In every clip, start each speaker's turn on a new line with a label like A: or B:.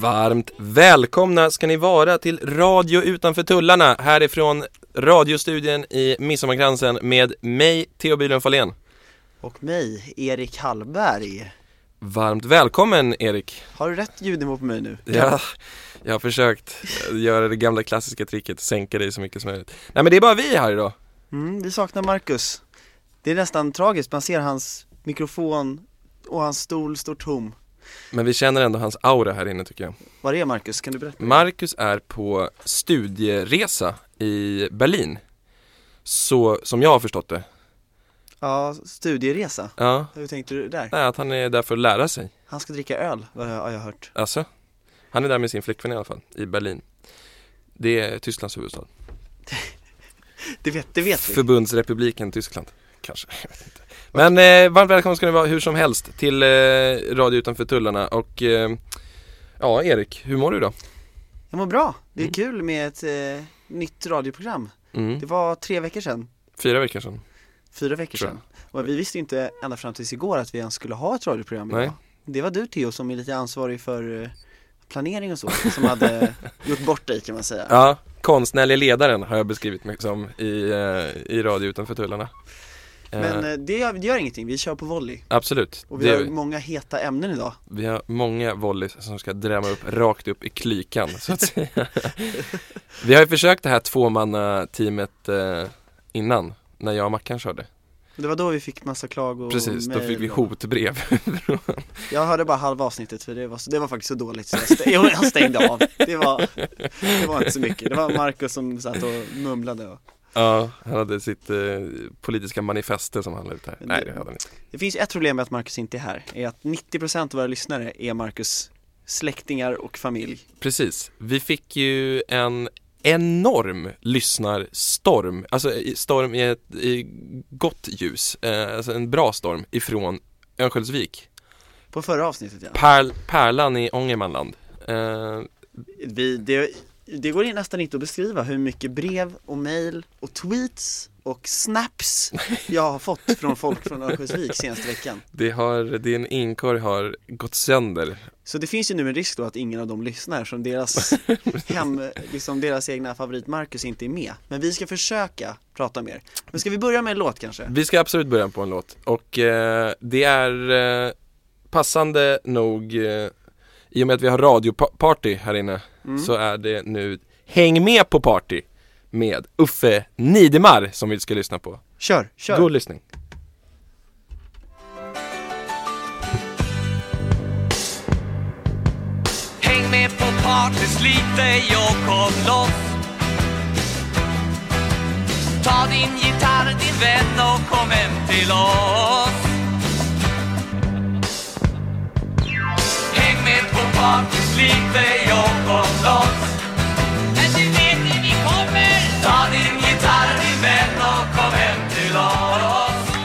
A: Varmt välkomna ska ni vara till Radio Utanför Tullarna härifrån radiostudien i Midsommarkransen med mig, Theo Bylund Fahlén.
B: Och mig, Erik Hallberg.
A: Varmt välkommen Erik!
B: Har du rätt ljudnivå på mig nu?
A: Ja, jag har försökt göra det gamla klassiska tricket, sänka dig så mycket som möjligt. Nej men det är bara vi här idag.
B: Mm, vi saknar Marcus. Det är nästan tragiskt, man ser hans mikrofon och hans stol står tom.
A: Men vi känner ändå hans aura här inne tycker jag.
B: Var är Marcus? Kan du berätta?
A: Marcus är på studieresa i Berlin. Så som jag har förstått det.
B: Ja, studieresa.
A: Ja,
B: Hur tänkte du där?
A: nej att han är där för att lära sig.
B: Han ska dricka öl, vad jag- har jag hört.
A: Alltså, han är där med sin flickvän i alla fall, i Berlin. Det är Tysklands huvudstad.
B: Det vet, det vet vi.
A: Förbundsrepubliken Tyskland, kanske. Jag vet inte. Men eh, varmt välkommen ska ni vara hur som helst till eh, Radio Utanför Tullarna och eh, ja, Erik, hur mår du idag?
B: Jag mår bra. Det är
A: Mm.
B: kul med ett eh, nytt radioprogram.
A: Mm.
B: Det var tre veckor sedan,
A: Fyra veckor sedan.
B: fyra veckor
A: Tror
B: sedan. Och vi visste ju inte ända fram tills igår att vi ens skulle ha ett radioprogram idag.
A: Nej.
B: Det var du Theo som är lite ansvarig för eh, planering och så, som hade gjort bort dig kan man säga.
A: Ja, konstnärlig ledaren har jag beskrivit mig som i, eh, i Radio Utanför Tullarna. Eh,
B: Men eh, det gör, det gör ingenting, vi kör på volley.
A: absolut,
B: Och
A: Det
B: vi har
A: gör vi.
B: många heta ämnen idag.
A: Vi har många volleys som ska drämma upp rakt upp i klykan så att säga. Vi har ju försökt det här tvåmannateamet eh, innan när jag och Mackan körde.
B: Det var då vi fick massa klagor och
A: Precis, då
B: mejl
A: fick vi
B: och-
A: hotbrev.
B: Jag hörde bara halva avsnittet för det var, så- det var faktiskt så dåligt så jag, stä- jo, jag stängde av det var, det var inte så mycket, det var Markus som satt och mumlade och...
A: ja, han hade sitt eh, politiska manifeste som han la ut här.
B: Men
A: Nej,
B: det-
A: det hade han inte.
B: Det finns ett problem med att Markus inte är här, är att 90% av våra lyssnare är Markus släktingar och familj
A: Precis, vi fick ju en enorm lyssnarstorm, alltså i- storm i ett i gott ljus, eh, alltså en bra storm ifrån Örnsköldsvik.
B: På förra avsnittet ja
A: Pärl, pärlan i Ångermanland. Eh,
B: Vi, det, det går ju nästan inte att beskriva hur mycket brev och mail och tweets och snaps jag har fått från folk från Örnsköldsvik senaste veckan
A: Det har, din inkorg har gått sönder
B: Så det finns ju nu en risk då att ingen av dem lyssnar som deras hem, liksom deras egna favorit Marcus inte är med. Men vi ska försöka prata mer. Men ska vi börja med en låt kanske?
A: Vi ska absolut börja på en låt och eh, det är eh, passande nog eh, I och med att vi har radioparty här inne så är det nu Häng med på party med Uffe Nidemar som vi ska lyssna på
B: Kör, kör!
A: God lyssning
C: Häng med på partys lite, jag kom loss Ta din gitarr, din vän och kom hem till oss Häng med på partys lite, jag kom loss Men du vet ni, vi kommer! Ta din gitarr, din vän och kom hem till oss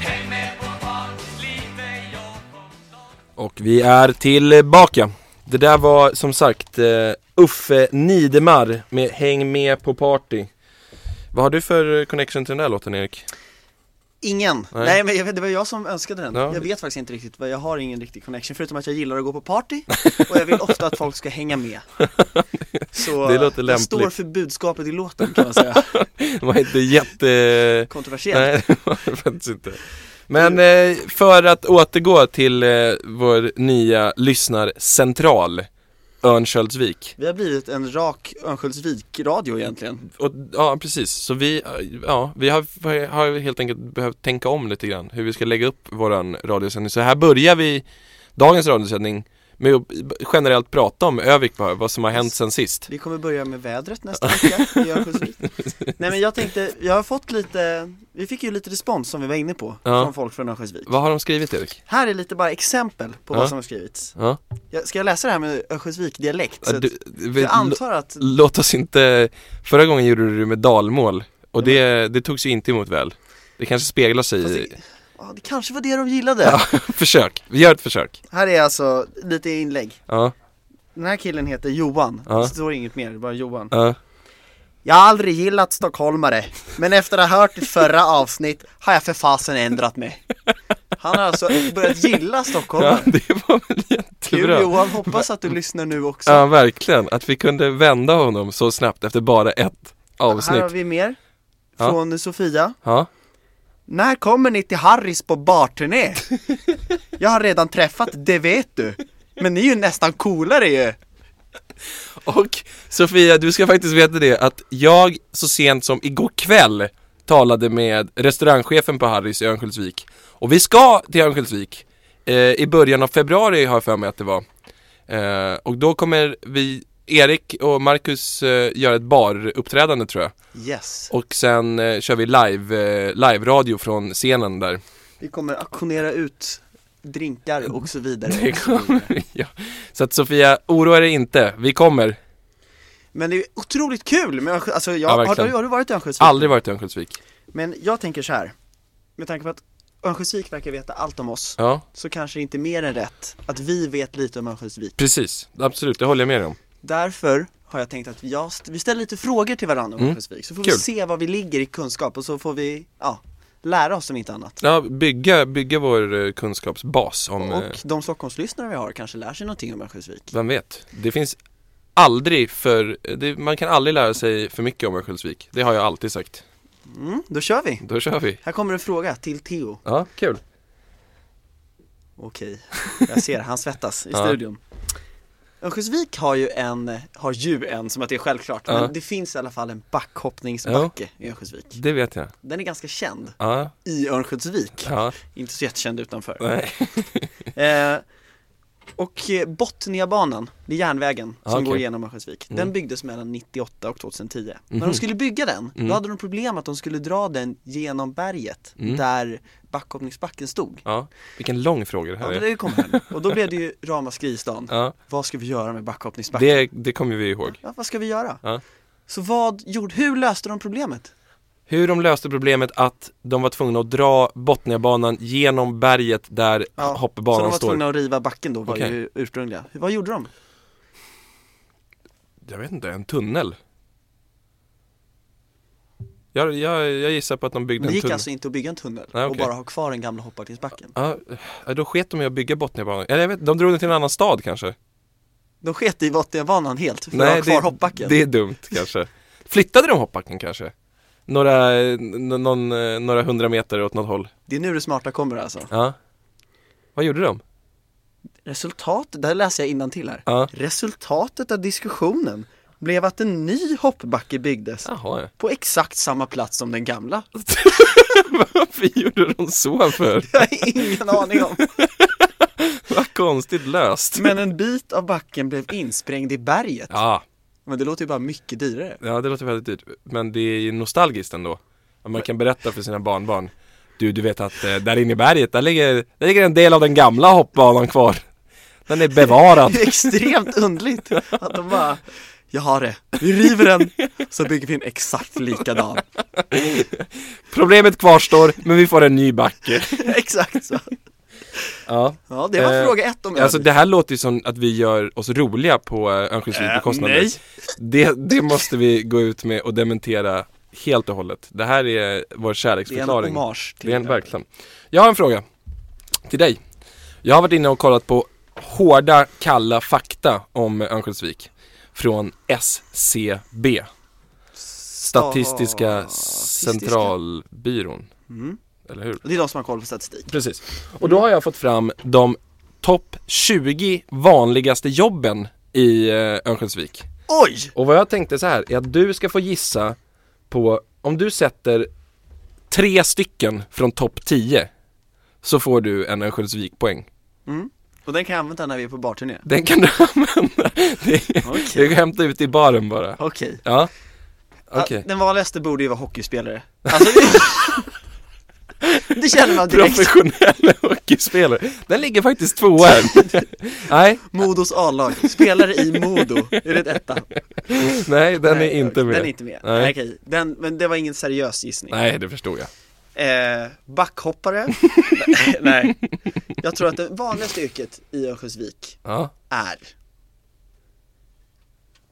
C: Häng med på partys lite, jag kom loss
A: Och vi är tillbaka Det där var som sagt eh, Uffe Nidemar med Häng med på party Vad har du för eh, connection till den där låten Erik?
B: Ingen!
A: Nej.
B: Nej, men jag vet, det var jag som önskade den.
A: Ja.
B: Jag vet faktiskt inte riktigt vad, jag har ingen riktig connection förutom att jag gillar att gå på party och jag vill ofta att folk ska hänga med. Så
A: Det låter
B: jag står
A: lämpligt.
B: för budskapet i låten kan man säga.
A: Det var inte jätte...
B: Kontroversiellt.
A: Nej, det var det faktiskt inte. Men eh, för att återgå till eh, vår nya lyssnarcentral Örnsköldsvik.
B: Vi har blivit en rak Örnsköldsvik-radio egentligen.
A: Och, ja, precis. Så vi, eh, ja, vi har, har helt enkelt behövt tänka om lite grann hur vi ska lägga upp våran radiosändning. Så här börjar vi dagens radiosändning med att generellt prata om Övik bara, vad som har hänt sen sist.
B: Vi kommer börja med vädret nästa vecka i Örnsköldsvik Nej men jag tänkte, jag har fått lite, vi fick ju lite respons som vi var inne på
A: Ja.
B: från folk från Örnsköldsvik
A: Vad har de skrivit Erik?
B: Här är lite bara exempel på
A: Ja.
B: vad som har skrivits
A: Ja.
B: jag, Ska jag läsa det här med Örnsköldsvik-dialekt? Så att-
A: Du- du-
B: jag antar att,
A: Låt oss inte, förra gången gjorde du det med dalmål och det, det togs ju inte emot väl Det kanske speglar sig
B: Fast
A: i,
B: det- ja det kanske var det de gillade
A: försök, vi gör ett försök
B: Här är alltså lite inlägg
A: Ja,
B: Den här killen heter Johan,
A: Ja.
B: det står inget mer, det är bara Johan
A: ja
B: Jag har aldrig gillat stockholmare, men efter att ha hört ditt förra avsnitt har jag för fasen ändrat mig Han har alltså börjat gilla stockholmare
A: Ja, det var väl jätte,
B: Kul
A: jättebra
B: Johan, hoppas att du lyssnar nu också.
A: Ja verkligen, att vi kunde vända honom så snabbt efter bara ett
B: Här har
A: avsnitt
B: vi mer.
A: Ja.
B: Från Sofia.
A: Ja,
B: När kommer ni till Harrys på barturné? Jag har redan träffat, det vet du. Men ni är ju nästan coolare ju.
A: och Sofia du ska faktiskt veta det att jag så sent som igår kväll talade med restaurangchefen på Harrys i Örnsköldsvik Och vi ska till Örnsköldsvik eh, I början av februari har jag för mig att det var eh, Och då kommer vi, Erik och Marcus eh, göra ett baruppträdande tror jag
B: Yes.
A: Och sen eh, kör vi live, eh, live-radio från scenen där
B: Vi kommer auktionera ut drinkar och så vidare.
A: Det kommer ja. Så att Sofia, oroa dig inte, vi kommer
B: Men det är otroligt kul med Örnsköldsvik, alltså jag,
A: Ja,
B: har,
A: verkligen.
B: du- har du varit i Örnsköldsvik?
A: Aldrig varit i Örnsköldsvik
B: Men jag tänker så här. med tanke på att Örnsköldsvik verkar veta allt om oss,
A: Ja,
B: så kanske det inte är mer än rätt att vi vet lite om Örnsköldsvik.
A: precis, absolut, det håller jag med dig om
B: Därför har jag tänkt att jag st- vi ställer lite frågor till varandra om Örnsköldsvik, så får vi
A: Mm. Kul.
B: se var vi ligger i kunskap och så får vi, ja, lära oss om inte annat.
A: Ja, bygga, bygga vår eh, kunskapsbas om, eh,
B: Och de Stockholmslyssnare vi har kanske lär sig någonting om Örnsköldsvik.
A: vem vet Det finns aldrig för, det, man kan aldrig lära sig för mycket om Örnsköldsvik Det har jag alltid sagt
B: Mm, då kör vi!
A: Då kör vi
B: Här kommer en fråga till Theo.
A: Ja, kul
B: Okej, jag ser, han svettas i
A: Ja.
B: studion Örnsköldsvik har ju en, har ju en, som att det är självklart,
A: Ja.
B: men det finns i alla fall en backhoppningsbacke i Örnsköldsvik
A: Det vet jag
B: Den är ganska känd
A: Ja,
B: i Örnsköldsvik,
A: ja,
B: inte så jättekänd utanför
A: nej
B: eh, Och eh, Botniabanan, det är järnvägen
A: Ja,
B: som går
A: okej. Mm.
B: genom Örnsköldsvik, den byggdes mellan 98 och 2010 När
A: Mhm.
B: de skulle bygga den,
A: Mm.
B: då hade de problem att de skulle dra den genom berget där backhoppningsbacken stod
A: Mm. Ja, vilken lång fråga det
B: Ja,
A: här
B: men
A: är
B: det kom här nu. Och då blev det ju ramaskri i stan.
A: Ja,
B: Vad ska vi göra med backhoppningsbacken?
A: det, det kommer vi ihåg
B: Ja, vad ska vi göra?
A: Ja.
B: Så vad gjorde, hur löste de problemet?
A: Hur de löste problemet att de var tvungna att dra Botniabanan genom berget där
B: så de
A: hoppbanan
B: var
A: står.
B: tvungna att riva backen då, var
A: Okej.
B: ju ursprungliga. Vad gjorde de?
A: Jag vet inte, en tunnel? Jag, jag, jag gissar på att de byggde
B: Det
A: en
B: gick
A: tunnel.
B: alltså inte att bygga en tunnel
A: Nej,
B: och
A: okej.
B: bara ha kvar den gamla hoppbackningsbacken.
A: Ja, eh, då sket de i att bygga Botniabanan. Eller jag vet, de drog den till en annan stad kanske?
B: De sket i Botniabanan helt för att ha kvar
A: det,
B: hoppbacken.
A: det är dumt kanske. Flyttade de hoppbacken kanske? Några, eh, n- någon, eh, några hundra meter åt något håll.
B: Det är nu det smarta kommer alltså.
A: Ja. Vad gjorde de?
B: Resultat, där läser jag innantill här.
A: Ja.
B: Resultatet av diskussionen blev att en ny hoppbacke byggdes
A: Jaha, ja.
B: på exakt samma plats som den gamla.
A: Varför gjorde de så för?
B: Jag har ingen aning om.
A: Vad konstigt löst.
B: Men en bit av backen blev insprängd i berget.
A: Ja,
B: Men det låter ju bara mycket dyrare.
A: Ja det låter väldigt dyrt, men det är ju nostalgiskt ändå Att man kan berätta för sina barnbarn Du, du vet att eh, där inne i berget, där ligger, där ligger en del av den gamla hoppbanan kvar Den är bevarad
B: Det är extremt undligt att de bara, jag har det, vi river den, så bygger vi en exakt likadan.
A: Problemet kvarstår, men vi får en ny backe
B: Exakt så.
A: Ja
B: Ja, det var
A: Eh,
B: fråga ett om
A: Alltså
B: alltså,
A: det här låter ju som att vi gör oss roliga på eh, Örnsköldsvik på kostnader
B: nej.
A: det, det måste vi gå ut med och dementera helt och hållet Det här är vår
B: Det är en
A: kärleksförklaring
B: hommage till
A: Det är en verksam. Jag har en fråga till dig. Jag har varit inne och kollat på hårda, kalla fakta om Örnsköldsvik från SCB, Statistiska centralbyrån.
B: Mm.
A: Eller hur?
B: Det är de som har koll på statistik.
A: Precis. Och då har jag fått fram de topp 20 vanligaste jobben i eh, Örnsköldsvik.
B: Oj!
A: Och vad jag tänkte så här är att du ska få gissa på om du sätter tre stycken från topp 10 så får du en Örnsköldsvik-poäng.
B: Och den kan jag använda när vi är på barturné.
A: Den kan du använda. Det är,
B: Okej.
A: Du kan hämta ut i baren bara.
B: Okej.
A: Ja,
B: Ah,
A: okej.
B: Den vanligaste borde ju vara hockeyspelare. Alltså, det... det känner man direkt.
A: Professionell hockeyspelare. Den ligger faktiskt tvåa här. Nej,
B: Modos A-lag, spelare i Modo, är det ettan?
A: nej den
B: Nej,
A: är inte med.
B: Den är inte med.
A: Nej.
B: Nej. okej. Den, men det var ingen seriös gissning.
A: Nej, det förstår jag.
B: Eh, backhoppare? Nej. Jag tror att det vanligaste yrket i Örnsköldsvik
A: Ja,
B: är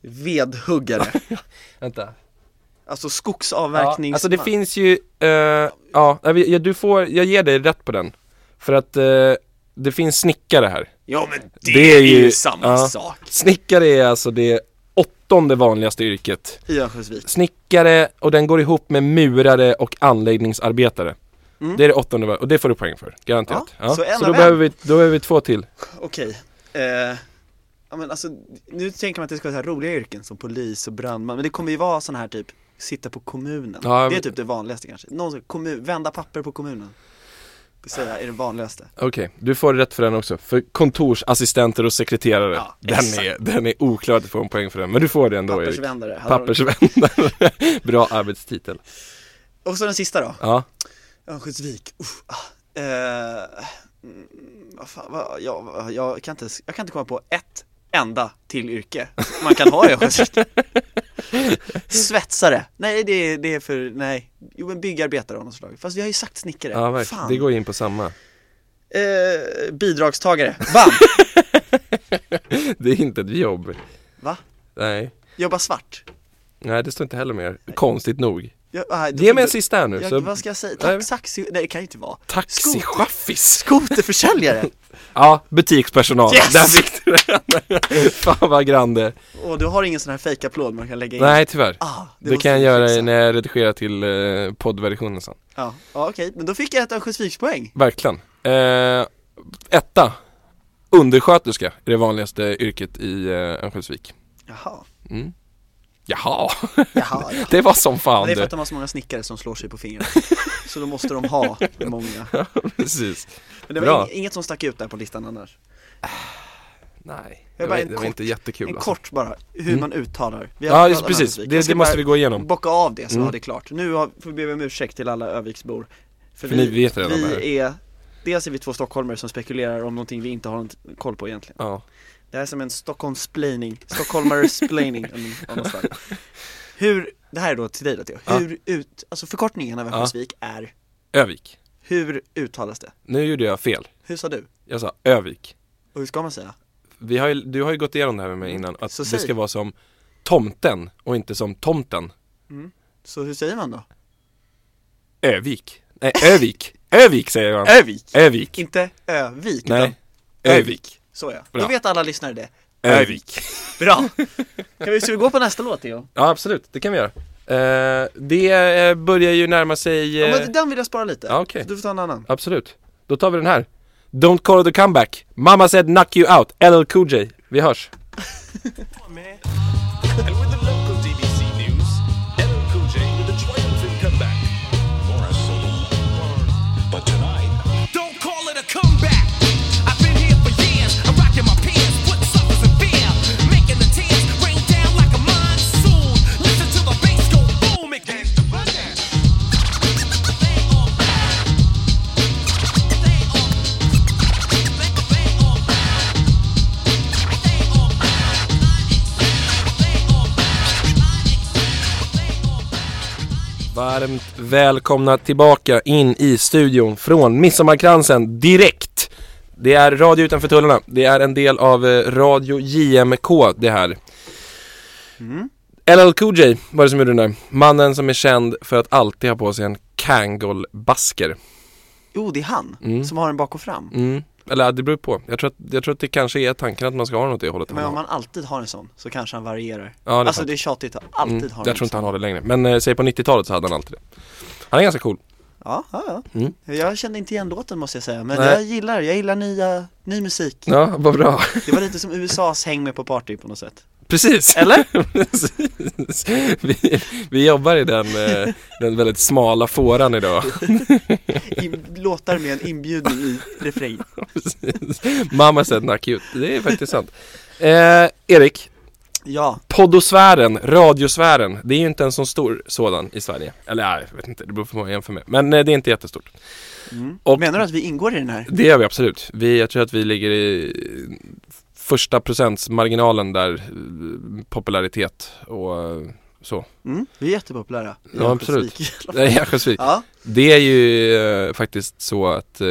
B: vedhuggare.
A: vänta.
B: Alltså
A: Ja,
B: skogsavverknings...
A: alltså det finns ju, eh, ja, nej, vi- ja, du får, jag ger dig rätt på den. För att eh, det finns snickare här.
B: Ja men det,
A: Det är
B: är, ju,
A: ju-
B: samma
A: ja.
B: sak
A: Snickare är alltså det åttonde vanligaste yrket.
B: i Örnsköldsvik.
A: Snickare och den går ihop med murare och anläggningsarbetare. Det är det åttonde va- och det får du poäng för, garanterat.
B: Mm. Ja, så en
A: så
B: av
A: då
B: en.
A: behöver, vi, då behöver vi två till.
B: Okej, eh, ja men alltså nu tänker man att det ska vara så här roliga yrken som polis och brandman, men det kommer ju vara sån här typ sitta på kommunen.
A: Ja,
B: det är
A: men-
B: typ det vanligaste kanske. Någon som, kommun, vända papper på kommunen. Det säger jag är det vanligaste.
A: Okej, du får rätt för den också. För kontorsassistenter och sekreterare.
B: Ja,
A: den,
B: exakt.
A: är, den är oklar att få en poäng för den, men du får det ändå Erik.
B: Pappersvändare. hade de-
A: Pappersvändare. Bra arbetstitel.
B: Och så den sista då.
A: Ja,
B: Örnsköldsvik, usch, ah, eh, mm, vad fan, vad, jag, vad- jag, kan inte, ens- jag kan inte komma på ett enda till yrke man kan ha i Örnsköldsvik Svetsare, nej det, är- det är för, nej, jo men byggarbetare av något slag, fast vi har ju sagt snickare,
A: ja
B: fan
A: verkligen. Det går in på samma.
B: eh, Bidragstagare, bam!
A: Det är inte ett jobb.
B: Va?
A: Nej,
B: Jobba svart?
A: nej det står inte heller med. Konstigt nog.
B: Jag, nej, då
A: Ge
B: får
A: mig en
B: du-
A: sista här nu.
B: jag,
A: så-
B: Vad ska jag säga?
A: Nej.
B: Ta- Taxi, nej det kan ju inte vara Skot-
A: Taxichaffis!
B: Skoterförsäljare!
A: Ja, butikspersonal.
B: Yes!
A: Där fick du den! Fan vad grande.
B: Och du har ingen sån här fejkapplåd man kan lägga in?
A: Nej tyvärr.
B: Ah,
A: Det,
B: måste
A: kan jag
B: vi
A: göra
B: fixa.
A: när jag redigerar till eh, poddversionen sen.
B: Ja, ja okej, men då fick jag ett Örnsköldsvikspoäng
A: Verkligen. Eh, etta. Undersköterska är det vanligaste yrket i eh, Örnsköldsvik.
B: Jaha,
A: Jaha,
B: jaha ja.
A: det var som fan
B: Men det är för
A: det.
B: att de har så många snickare som slår sig på fingrarna Så då måste de ha många
A: Precis.
B: Men det
A: Bra.
B: var ing- inget som stack ut där på listan annars
A: Nej, det
B: Jag
A: var,
B: bara, en
A: det var
B: kort-
A: inte jättekul
B: En
A: alltså.
B: kort bara, hur man uttalar Vi har
A: Ja,
B: pratat
A: just,
B: om
A: precis.
B: Örnsköldsvik. Jag
A: Det,
B: ska
A: det måste
B: bara
A: vi gå igenom.
B: Bocka av det så
A: Mm.
B: har det klart Nu har, får vi be om ursäkt till alla Öviksbor För,
A: För ni vet redan det här.
B: vi är Dels är vi två stockholmare som spekulerar om någonting vi inte har något koll på egentligen
A: Ja.
B: Det här är som en Stockholmsplaining, stockholmare-splaining om- om något slag. Hur, det här är då till dig då Theo,
A: Ja.
B: hur ut, alltså förkortningen av Örnsköldsvik är,
A: Övik.
B: hur uttalas det?
A: Nu gjorde jag fel.
B: Hur sa du?
A: Jag sa Övik.
B: Och hur ska man säga?
A: Vi har ju, du har ju gått igenom det här med mig innan, att
B: Så
A: det
B: säg.
A: ska vara som tomten och inte som tomten.
B: Så hur säger man då?
A: Övik. Nej, Övik. Övik säger man.
B: Övik!
A: Övik.
B: Inte Övik, utan
A: Nej, Övik.
B: så ja.
A: Bra.
B: Då vet alla lyssnare det.
A: Övik.
B: Bra! kan vi, ska vi gå på nästa låt Theo?
A: Ja, absolut. Det kan vi göra. Eh, det eh, börjar ju närma sig...
B: Ja,
A: eh,
B: men den vill jag spara lite,
A: Ja, okej.
B: Så du får ta en annan.
A: Absolut. Då tar vi den här. Don't call it a comeback. Mama said knock you out. LL Cool J. Vi hörs.
D: And with the local DBC news, LL Cool J with a triumphant comeback. More a solo But tonight,
E: Don't call it a comeback. I've been here for years. I'm rocking my peers. What suffers and fear? Making the tears rain down like a monsoon. Listen to the bass go boom. It gets to run down. They all mad. They all- they- they all mad. They all mad. They all mad. They all mad.
A: Varmt välkomna tillbaka in i studion från Midsommarkransen direkt. Det är Radio Utanför Tullarna. Det är en del av eh, Radio JMK det här.
B: Mm.
A: LL Cool J var det som gjorde den där. Mannen som är känd för att alltid ha på sig en Kangol-basker.
B: Jo, det är han, som har en bak och fram.
A: Mm. Eller ja, det beror på. Jag tror, att, jag tror att det kanske är tanken att man ska ha något åt det hållet.
B: Men om man alltid har en sån, så kanske han varierar.
A: Ja, det är
B: alltså
A: sant.
B: det är tjatigt att alltid
A: Mm.
B: ha en
A: Jag tror inte han har det längre. Men eh, säg på 90-talet så hade han alltid det. Han är ganska cool.
B: Ja, ja, ja. Jag kände inte igen låten måste jag säga, men
A: Mm. Nej.
B: jag gillar, jag gillar nya, ny musik
A: Ja, vad bra.
B: Det var lite som USAs häng med på party på något sätt
A: Precis! Eller? Precis. Vi, vi jobbar i den, eh, den väldigt smala fåran idag.
B: I- Låtar med en inbjudning i refräng
A: Precis. Mamma said knock you. Det är faktiskt sant. Eh, Erik,
B: Ja,
A: poddosfären, radiosfären, det är ju inte en så stor sådan i Sverige. Eller nej, jag vet inte, det beror på hur man jämför med. Men eh, det är inte jättestort. Och-
B: menar du att vi ingår i den här?
A: Det gör vi absolut. Vi, jag tror att vi ligger i första procentsmarginalen där, eh, popularitet och eh, så.
B: Mm, vi är jättepopulära i
A: Ja, absolut.
B: Örnsköldsvik.
A: Nej, Örnsköldsvik.
B: Ja,
A: Det är ju eh, faktiskt så att eh,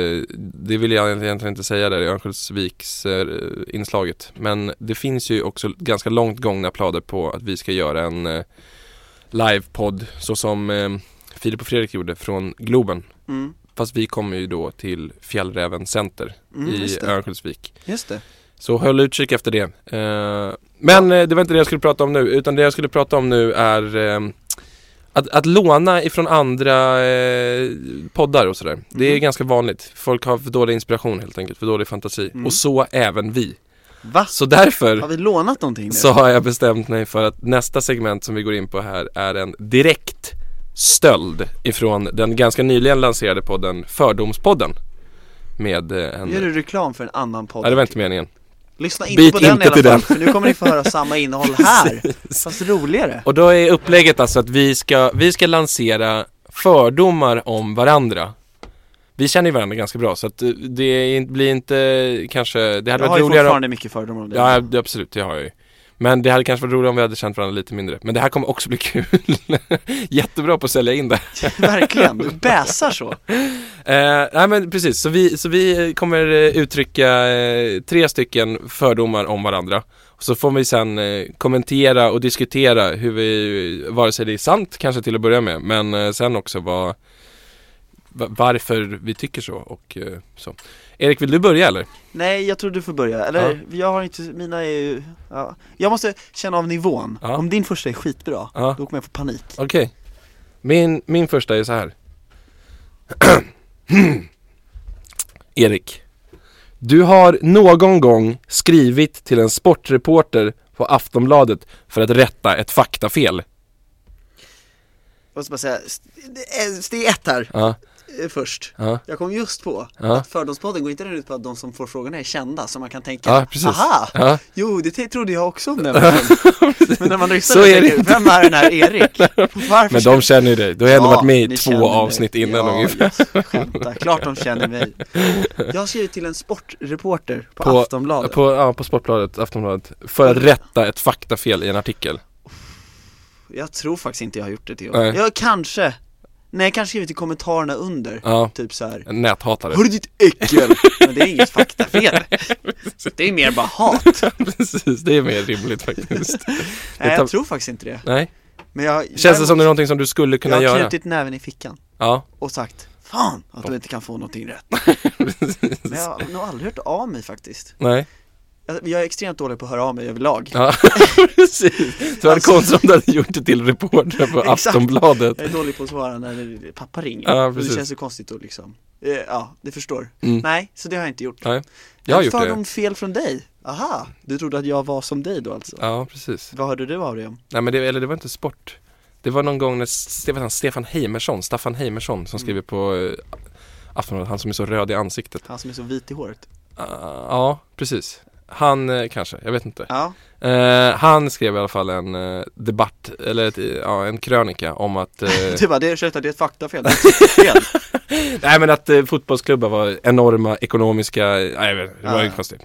A: det vill jag egentligen inte säga där i Örnsköldsviks eh, inslaget. Men det finns ju också ganska långt gångna planer på att vi ska göra en eh, livepodd så som eh, Filip och Fredrik gjorde från Globen.
B: mm.
A: Fast vi kommer ju då till Fjällräven Center
B: Mm,
A: i
B: just det.
A: Örnsköldsvik.
B: Just det.
A: Så håll utkik efter det. Eh, men eh, det var inte det jag skulle prata om nu, utan det jag skulle prata om nu är eh, att, att låna ifrån andra eh, poddar och sådär. Det är
B: Mhm.
A: ganska vanligt. Folk har för dålig inspiration helt enkelt, för dålig fantasi.
B: Mm.
A: Och så även vi.
B: Va?
A: Så därför
B: Har vi lånat någonting nu?
A: så har jag bestämt mig för att nästa segment som vi går in på här är en direkt stöld ifrån den ganska nyligen lanserade podden Fördomspodden. Med eh, en...
B: Gör du reklam för en annan podd?
A: Nej, det var inte meningen.
B: Lyssna inte
A: Byt
B: på den
A: inte
B: i alla
A: till
B: fall,
A: den.
B: för nu kommer ni få höra samma innehåll här. Fast roligare.
A: Och då är upplägget alltså att vi ska, vi ska lansera fördomar om varandra. Vi känner ju varandra ganska bra så att eh, det är- blir inte kanske, det
B: Jag
A: hade
B: har
A: varit
B: ju
A: roligare om,
B: fortfarande mycket fördomar om dig.
A: Ja det- absolut, det har jag ju. Men det hade kanske varit roligare om vi hade känt varandra lite mindre. Men det här kommer också bli kul. Jättebra på att sälja in det.
B: Verkligen, du bäsar så.
A: Eh, nej men precis, så vi, så vi eh, kommer eh, uttrycka eh, tre stycken fördomar om varandra. Så får vi sen eh, kommentera och diskutera hur vi, vare sig det är sant kanske till att börja med, men eh, sen också vad, va- varför vi tycker så och eh, så. Erik, vill du börja eller?
B: Nej, jag tror du får börja, eller? Jag har inte, mina är ju, ja. Jag måste känna av nivån.
A: Ja.
B: Om din första är skitbra,
A: Ja.
B: då kommer jag få panik.
A: Okej. Min, min första är så här. Erik. Du har någon gång skrivit till en sportreporter på Aftonbladet för att rätta ett faktafel.
B: Jag måste bara säga, st- eh, steg ett här,
A: Ja,
B: eh, först.
A: ja,
B: Jag kom just på
A: Ja.
B: att Fördomspodden går inte den ut på att de som får frågorna är kända, så man kan tänka,
A: ja precis.
B: aha,
A: Ja,
B: jo det t- trodde jag också om den personen." Men när man lyssnar
A: Så
B: så
A: är det
B: tänker, vem är den här Erik? Varför
A: men de
B: känner-
A: känner ju dig. Du har ändå
B: Ja,
A: varit med i
B: ni
A: två
B: känner mig.
A: avsnitt innan
B: ja,
A: ungefär.
B: jag Skämtar, klart de känner mig Jag har skrivit till en sportreporter på,
A: På-
B: Aftonbladet
A: På, ja, på Sportbladet, Aftonbladet. För att rätta ett faktafel i en artikel.
B: Jag tror faktiskt inte jag har gjort det till
A: Nej.
B: honom Jag kanske, nej jag kanske skrivit i kommentarerna under,
A: Ja,
B: typ så här.
A: en näthatare.
B: Hörru ditt äckel! Men det är inget faktafel Det är mer bara hat
A: precis, det är mer rimligt faktiskt.
B: Nej
A: tar-
B: jag tror faktiskt inte det
A: Nej,
B: Men jag
A: känns det som det är någonting som du skulle
B: jag
A: kunna
B: har
A: göra?
B: knutit näven i fickan
A: Ja,
B: och sagt Fan att du inte kan få någonting rätt Men jag har nog aldrig hört av mig faktiskt
A: nej.
B: Jag, jag är extremt dålig på att höra av mig överlag
A: Ja, precis. Det var
B: Alltså-
A: konstigt om du hade gjort det till reporter på
B: Exakt.
A: Aftonbladet.
B: Jag är dålig på att svara när pappa ringer
A: Ja,
B: Och Det
A: precis.
B: känns så konstigt att liksom eh, Ja, du förstår
A: Mm.
B: Nej, så det har jag inte gjort
A: Nej, jag har
B: Men
A: gjort det.
B: Fördom fel från dig? Aha, du trodde att jag var som dig då alltså?
A: Ja, precis.
B: Vad hörde du av dig om?
A: Nej, men det, eller det var inte sport. Det var någon gång när Stefan, Stefan Heimersson, Staffan Heimersson
B: Mm.
A: som skriver på eh, Aftonbladet, han som är så röd i ansiktet.
B: Han som är så vit i håret
A: Ah, ja, precis. Han eh, kanske, jag vet inte.
B: Ja,
A: Eh, han skrev i alla fall en eh, debatt, eller ett, eh, ja, en krönika om att eh,
B: du bara, det, ursäkta, det är ett faktafel, det är ett fel
A: Nej men att eh, fotbollsklubbar var enorma ekonomiska, nej jag vet, det var ju
B: Ah.
A: konstigt.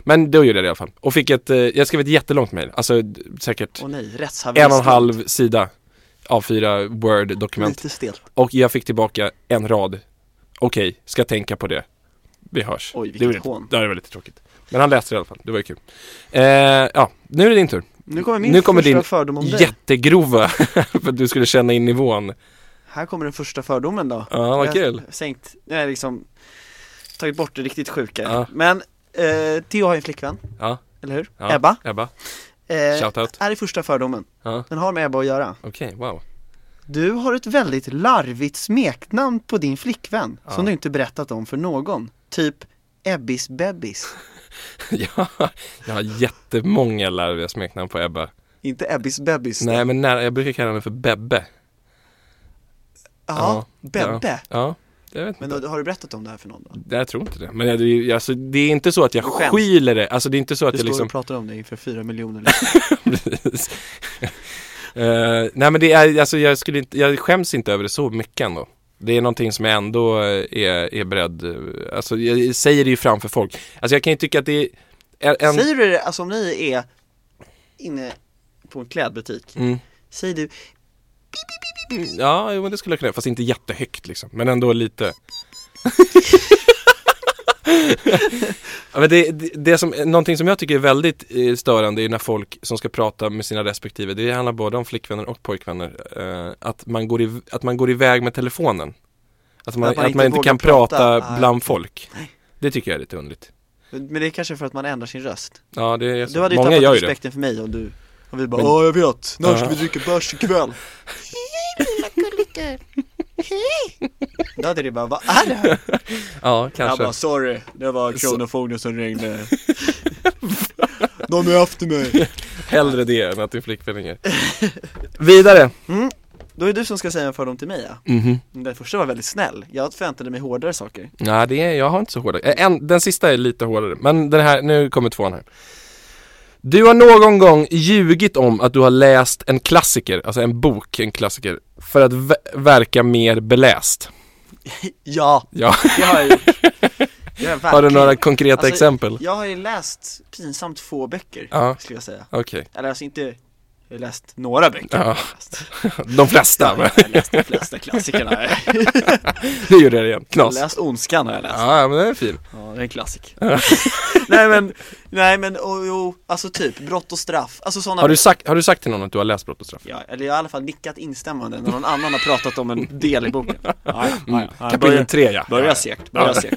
A: Men då gjorde jag det i alla fall. Och fick ett, eh, jag skrev ett jättelångt mejl, alltså d- säkert
B: Åh nej, rättshaveri
A: en och en halv sida av fyra word dokument.
B: Lite stelt
A: Och jag fick tillbaka en rad, okej, ska tänka på det. Vi hörs.
B: Oj, vilket
A: det var lite-
B: hån.
A: Ja, det var lite tråkigt. Men han läste det i alla fall, det var ju kul. Eh, ja, nu är det din tur.
B: Nu kommer min
A: Nu kommer
B: första
A: din
B: fördom om dig
A: Jättegrova, för att du skulle känna in nivån.
B: Här kommer den första fördomen då
A: Ja, vad
B: Jag
A: kul.
B: har Sänkt, jag har liksom tagit bort det riktigt sjuka
A: Ja.
B: Men, eh, Theo har ju en flickvän,
A: Ja,
B: eller hur?
A: ja.
B: Ebba
A: Ebba,
B: eh,
A: shoutout.
B: Här är första fördomen,
A: Ja,
B: den har med Ebba att göra
A: okej, wow.
B: Du har ett väldigt larvigt smeknamn på din flickvän Som du inte berättat om för någon Typ Ebbis Bebbis
A: Ja, jag har jättemånga larviga smeknamn på Ebba.
B: Inte Ebbis Bebbis
A: Nej men nära, jag brukar kalla henne för Bebbe.
B: Ja,
A: ja.
B: Bebbe
A: Ja, jag vet
B: Men
A: inte.
B: då, har du berättat om det här för någon då?
A: Nej, Jag tror inte det. Men jag, det, är ju- alltså, det är inte så att jag
B: Du skäms.
A: skyler det. Alltså det är inte så att
B: Du
A: jag
B: står
A: liksom...
B: och pratar om det inför fyra miljoner lyssnare.
A: Precis. Eh, nej men det är, alltså jag skulle inte, jag skäms inte över det så mycket ändå. Det är någonting som jag ändå eh, är, är beredd, eh, alltså jag säger det ju framför folk. Alltså jag kan ju tycka att det är en...
B: Säger du det, alltså om ni är inne på en klädbutik,
A: Mm.
B: säger du
A: Ja, jo, men det skulle jag kunna göra. Fast inte jättehögt liksom. Men ändå lite. ja, men det, det, det som, någonting som jag tycker är väldigt eh, störande är när folk som ska prata med sina respektive, det handlar både om flickvänner och pojkvänner, eh, att, man går i, att man går iväg med telefonen. Att man,
B: Att
A: att
B: man
A: man,
B: inte
A: inte
B: vågar
A: kan prata,
B: prata. Ah.
A: bland folk
B: Nej.
A: Det tycker jag är lite underligt
B: Men det är kanske för att man ändrar sin röst
A: Ja det är
B: Du hade
A: så.
B: ju
A: Alltså, många gör
B: tappat
A: ju det
B: respekten för mig och du Och vi bara
A: Men-
B: Ja jag vet, när ska
A: Ja.
B: vi dricka bärs ikväll? Då hade det bara, vad är det här?
A: Ja
B: Jag
A: kanske
B: bara, sorry, det var Kronofogden som ringde De är efter mig
A: Hellre det än att din flickvän ringer Vidare
B: Då är det du som ska säga en fördom till mig ja
A: Mhm.
B: Den första var väldigt snäll, jag förväntade mig hårdare saker
A: Nej, det är, jag har inte så hårda. Eh, En, den sista är lite hårdare, men den här, nu kommer tvåan här. Du har någon gång ljugit om att du har läst en klassiker, alltså en bok, en klassiker, för att ve- verka mer beläst.
B: Ja,
A: Ja,
B: det har jag gjort Det jag
A: har du
B: verkligen.
A: några konkreta
B: Alltså,
A: exempel?
B: Jag har ju läst pinsamt få böcker,
A: Ja.
B: skulle jag säga
A: Okej,
B: Eller alltså inte, jag har läst några böcker
A: Ja.
B: Läst.
A: de flesta, men
B: Jag har läst de flesta klassikerna
A: nu gjorde jag det igen,
B: Jag har
A: knas.
B: läst Ondskan har jag läst
A: Ja, men den är fin.
B: Ja, det är en klassik Nej men, nej men, och, jo, alltså typ brott och straff, alltså sådana
A: Har du, sagt, har du sagt till någon att du har läst Brott och straff?
B: Ja, eller jag har i alla fall nickat instämmande när någon annan har pratat om en del i boken Mm. ja, ja, ja, ja.
A: Kapitel 3 ja.
B: Börja segt, börja segt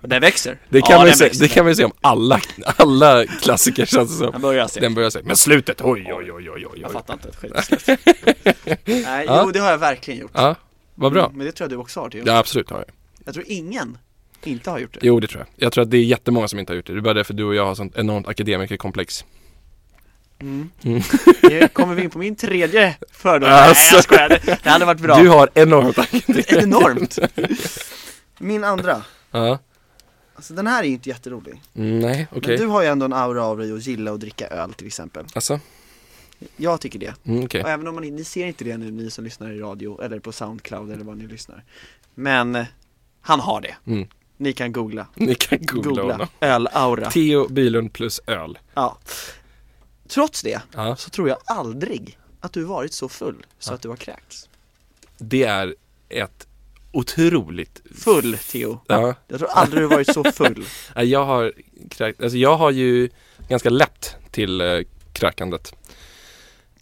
B: Den växer
A: Det kan, man
B: den
A: ju se,
B: växer.
A: det kan man ju se om alla, alla klassiker känns det som.
B: Den börjar segt
A: Den börjar säga, men slutet, oj oj oj oj oj
B: Jag
A: oj
B: fattar inte ett skit Nej, jo det har jag verkligen gjort Mm,
A: Ja, vad bra
B: Men det tror jag du också har det
A: Ja absolut har jag
B: Jag tror ingen inte har gjort det
A: Jo det tror jag Jag tror att det är jättemånga som inte har gjort det Det är bara därför du och jag har sånt enormt akademikerkomplex
B: Nu kommer vi in på min tredje fördom Nej
A: Alltså.
B: jag skojar, det, det hade varit bra
A: Du har enormt akademiker
B: Enormt Min andra,
A: Ja,
B: alltså den här är ju inte jätterolig
A: Mm, nej okej
B: Men du har ju ändå en aura av dig och gilla att dricka öl till exempel
A: Alltså,
B: Jag tycker det
A: mm, okej
B: Och även om man, ni ser inte det nu ni som lyssnar i radio eller på Soundcloud eller vad ni lyssnar Men eh, han har det
A: Mm.
B: Ni kan googla,
A: Ni kan googla,
B: googla
A: honom
B: öl-aura
A: Theo Bylund plus öl
B: ja. Trots det
A: Ja,
B: så tror jag aldrig att du varit så full så att du har kräkts
A: det är ett otroligt
B: Full Theo
A: Ja,
B: Jag tror aldrig du varit så full
A: Nej, jag har kräkt, alltså jag har ju ganska lätt till eh, kräkandet.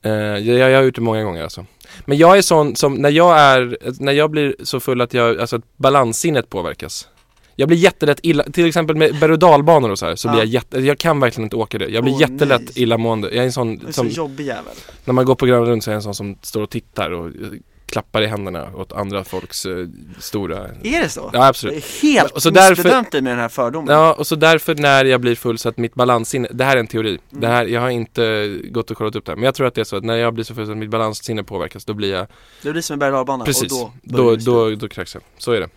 A: Eh, jag, jag, jag har gjort det många gånger alltså. Men jag är sån som, när jag är, när jag blir så full att jag, alltså att balanssinnet påverkas. Jag blir jättelätt illa, till exempel med berg och dalbanor och så här, så
B: Ja.
A: blir jag jätte, jag kan verkligen inte åka det. Jag blir
B: Åh,
A: jättelätt
B: nej. Alltså,
A: illamående. Jag är en sån,
B: En så
A: som,
B: jobbig jävel
A: när man går på Gröna Lund så är jag en sån som står och tittar och eh, klappar i händerna åt andra folks eh, stora
B: Är det så?
A: Ja absolut
B: Det är helt
A: Och så därför-
B: missbedömt dig med den här fördomen
A: Ja, och så därför när jag blir full så att mitt balanssinne, det här är en teori,
B: Mm.
A: det här, jag har inte gått och kollat upp det här, men jag tror att det är så att när jag blir så full så att mitt balanssinne påverkas, då blir jag,
B: Det blir som en berg och dalbana,
A: precis,
B: och då
A: då,
B: börjar
A: då,
B: du
A: då, kräks jag. Så är det.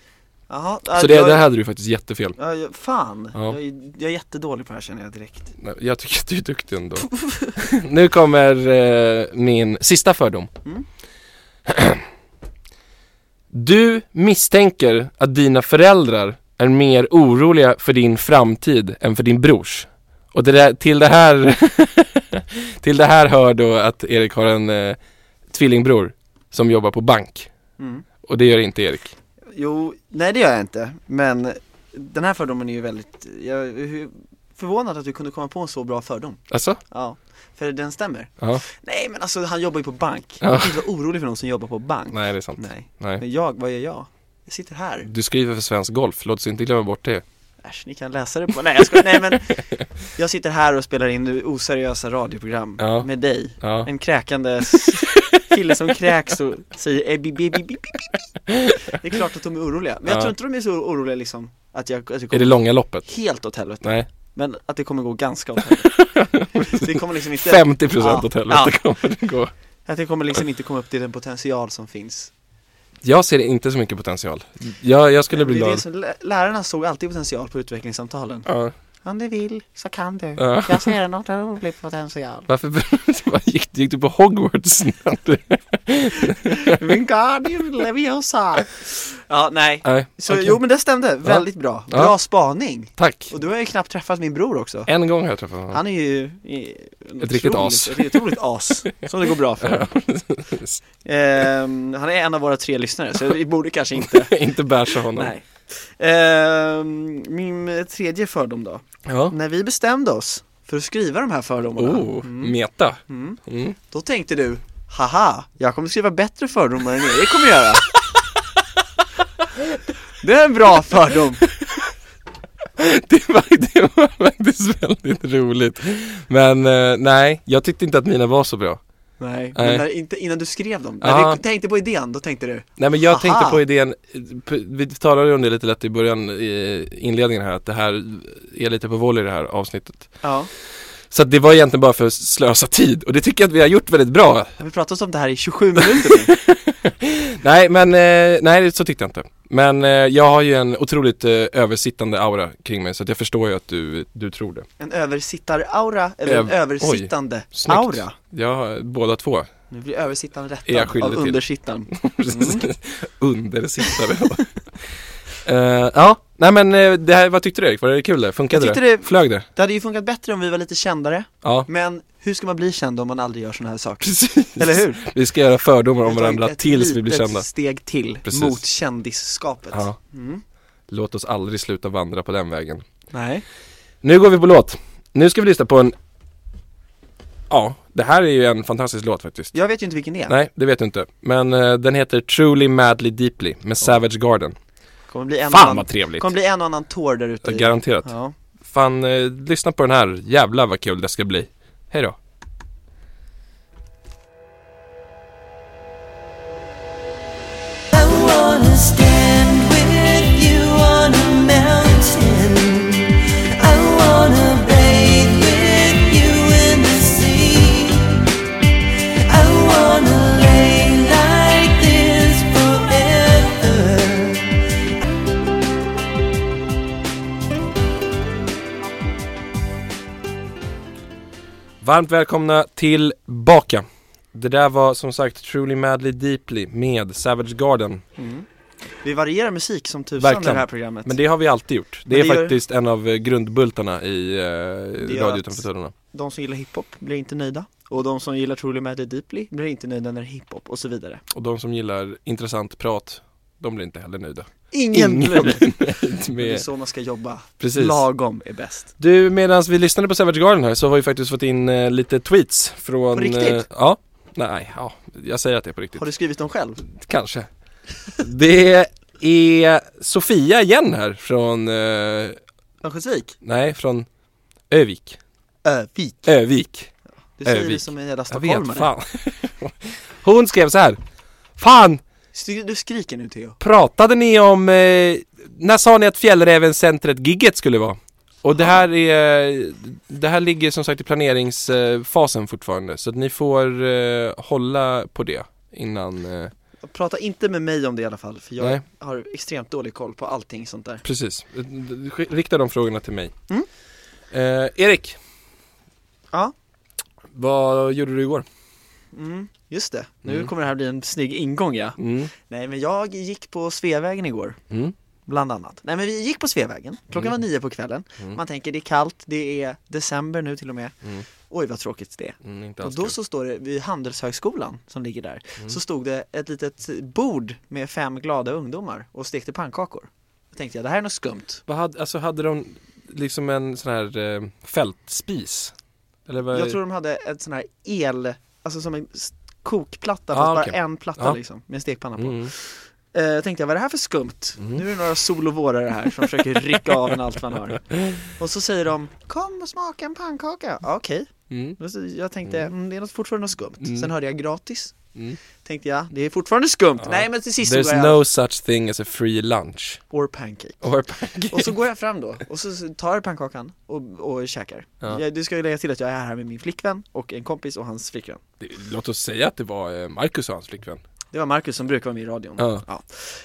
B: Jaha,
A: Så
B: ja,
A: det,
B: jag-
A: det här hade du faktiskt jättefel.
B: ja, jag- fan,
A: Ja.
B: jag, är, jag är jättedålig på det här känner jag direkt
A: Nej, Jag tycker att du är duktig ändå. nu kommer eh, min sista fördom.
B: Mm.
A: du misstänker att dina föräldrar är mer oroliga för din framtid än för din brors. Och det där, till det här till det här hör då att Erik har en eh, tvillingbror som jobbar på bank.
B: Mm.
A: Och det gör inte Erik.
B: Jo, nej det gör jag inte, men den här fördomen är ju väldigt, jag är ju förvånad att du kunde komma på en så bra fördom
A: Alltså?
B: Ja, för den stämmer
A: Ja.
B: Nej men alltså han jobbar ju på bank,
A: Ja.
B: jag kan inte vara orolig för någon som jobbar på bank
A: Nej, det är sant.
B: Nej.
A: Nej.
B: Men jag, vad gör jag? Jag sitter här,
A: Du skriver för Svensk Golf, låt oss inte glömma bort det.
B: äsch ni kan läsa det på, nej jag ska, nej men Jag sitter här och spelar in nu oseriösa radioprogram
A: Ja.
B: med dig
A: Ja.
B: En kräkande s- kille som kräks och säger "Eh, bi, bi, bi, bi, bi, bi." Det är klart att de är oroliga, men jag
A: Ja.
B: tror inte de är så oroliga liksom att jag, att
A: Är
B: jag
A: det
B: kommer
A: långa loppet?
B: helt åt helvete
A: Nej.
B: Men att det kommer gå ganska åt helvete Det kommer liksom inte
A: 50 procent
B: Ja,
A: åt helvete
B: ja.
A: kommer det gå.
B: Att det kommer liksom inte komma upp till den potential som finns
A: Jag ser inte så mycket potential. Jag, jag skulle
B: Det
A: bli
B: är det
A: glad.
B: som, lä- lärarna såg alltid potential på utvecklingssamtalen
A: Ja,
B: Om du vill så kan du
A: ja.
F: Jag ser något roligt potential.
A: Varför vad gick, gick du på Hogwarts?
B: Wingardium Leviosa Ja, nej
A: Nej,
B: Så
A: okej.
B: jo men det stämde, väldigt bra,
A: Ja.
B: bra spaning
A: Tack.
B: Och du har ju knappt träffat min bror också
A: En gång har jag träffat honom.
B: Han är ju i-
A: Ett riktigt
B: otroligt-
A: as.
B: Ett otroligt as, som det går bra för Ehm, Han är en av våra tre lyssnare, så vi borde kanske inte
A: inte bärsa honom.
B: Nej Ehm, Min tredje fördom då
A: Ja.
B: När vi bestämde oss för att skriva de här fördomarna
A: Oh, meta. Mm.
B: Då tänkte du, haha, jag kommer skriva bättre fördomar än Erik kommer göra Det är en bra fördom!
A: Det var, det var faktiskt väldigt roligt. Men eh, nej, jag tyckte inte att mina var så bra.
B: Nej,
A: Nej.
B: men när, inte innan du skrev dem,
A: Ja.
B: när du tänkte på idén, då tänkte du
A: Nej men jag
B: Aha.
A: tänkte på idén, eh, p- vi talade ju om det lite lätt i början, i inledningen här, att det här är lite på volley det här avsnittet.
B: Ja,
A: Så att det var egentligen bara för att slösa tid och det tycker jag att vi har gjort väldigt bra.
B: har vi pratat om det här i 27 minuter nu?
A: Nej men, eh, nej så tyckte jag inte. Men eh, jag har ju en otroligt eh, översittande aura kring mig så att jag förstår ju att du, du tror det.
B: En översittar-aura, eller en
A: Öv-
B: översittande
A: Snyggt.
B: aura?
A: Jag har båda två.
B: Nu blir översittaren rättad
A: Är jag skyldig
B: av
A: till?
B: undersittaren Mm.
A: Undersittare. Eh, ja, nej men eh, det här, vad tyckte du Erik? Var det kul det? Funkade
B: Jag tyckte det-
A: Flög det?
B: Det hade ju funkat bättre om vi var lite kändare,
A: Ja,
B: men hur ska man bli känd om man aldrig gör sådana här saker?
A: precis.
B: Eller hur?
A: Vi ska göra fördomar om
B: Vi har
A: varandra
B: tagit ett
A: tills vi blir
B: litet
A: kända.
B: steg till
A: Precis.
B: mot kändisskapet
A: Ja.
B: Mm.
A: Låt oss aldrig sluta vandra på den vägen.
B: Nej,
A: Nu går vi på låt. Nu ska vi lyssna på en... Ja, det här är ju en fantastisk låt faktiskt.
B: jag vet ju inte vilken det är
A: Nej, det vet du inte. Men eh, den heter Truly Madly Deeply med Savage Garden.
B: Kommer bli en och
A: Fan
B: annan,
A: vad trevligt!
B: kommer bli en och annan tår där ute i-
A: Garanterat.
B: Ja,
A: Fan, eh, lyssna på den här. Jävlar vad kul det ska bli. Hej då.
G: I wanna stand with you on a mountain. I wanna bathe with you in the sea. I wanna lay like this forever.
A: Varmt välkomna tillbaka. Det där var som sagt Truly Madly Deeply med Savage Garden.
B: vi varierar musik som tusan i
A: Verkligen.
B: det här programmet
A: Men det har vi alltid gjort. Det
B: Men
A: är
B: det gör-
A: faktiskt en av eh, grundbultarna i eh,
B: gör
A: Radio
B: att-
A: utanför tullarna.
B: De som gillar hiphop blir inte nöjda Och de som gillar Truly Madly Deeply blir inte nöjda när det är hiphop och så vidare
A: Och de som gillar intressant prat, de blir inte heller nöjda.
B: Ingen blir det! Det är
A: Med...
B: så man ska jobba
A: Precis.
B: Lagom är bäst
A: Du, medan vi lyssnade på Savage Garden här så har vi faktiskt fått in eh, lite tweets från...
B: På riktigt?
A: eh, ja. Nej, ja. Jag säger att det är på riktigt.
B: Har du skrivit dem själv?
A: Kanske. Det är Sofia igen här från, eh,
B: Örnsköldsvik?
A: nej från Övik.
B: Övik
A: Övik.
B: Du säger
A: Övik.
B: det som en jävla
A: Jag vet,
B: stockholmare
A: fan. Hon skrev så här. Fan,
B: Sk- Du skriker nu Theo
A: pratade ni om, eh, när sa ni att Fjällräven-centret gigget skulle vara? Och det här är, det här ligger som sagt i planeringsfasen fortfarande så att ni får eh, hålla på det innan, eh,
B: Prata inte med mig om det i alla fall, för jag
A: Nej.
B: har extremt dålig koll på allting sånt där
A: precis. Eh, Sk- Rikta de frågorna till mig.
B: Mm.
A: Eh, Erik,
B: Ja,
A: Vad gjorde du igår?
B: just det. Nu kommer det här bli en snygg ingång ja
A: Mm.
B: Nej men jag gick på Sveavägen igår
A: Mm.
B: Bland annat. Nej men vi gick på Sveavägen, klockan var nio på kvällen
A: Mm.
B: Man tänker det är kallt, det är december nu till och med Oj vad tråkigt det är
A: Mm, inte
B: Och då så står det, vid Handelshögskolan som ligger där
A: Mm.
B: Så stod det ett litet bord med fem glada ungdomar och stekte pannkakor Då tänkte jag det här är något skumt
A: Vad hade, alltså hade de liksom en sån här eh, fältspis? Eller vad?
B: Jag tror de hade ett sån här el, alltså som en s- kokplatta
A: Ah,
B: fast bara
A: okej.
B: en platta
A: Ja.
B: liksom, med en stekpanna på.
A: Mm.
B: Eh, tänkte jag, vad är det här för skumt? Nu är det några solovårare här som försöker rycka av en allt man har. Och så säger de, kom och smaka en pannkaka. Ja, Okej,
A: Mm.
B: Och så jag tänkte, mm. det är något fortfarande något skumt. Sen hörde jag gratis.
A: Mm.
B: Tänkte jag, det är fortfarande skumt. Nej men till sist så går
A: There's
B: jag,
A: no such thing as a free lunch
B: or pancake.
A: or pancake.
B: Och så går jag fram då och så tar jag pannkakan och, och käkar.
A: Ja.
B: Jag, du ska ju lägga till att jag är här med min flickvän och en kompis och hans flickvän.
A: Det- Låt oss säga att det var eh, Marcus och hans flickvän
B: Det var Marcus som brukar vara med i radion.
A: Ja.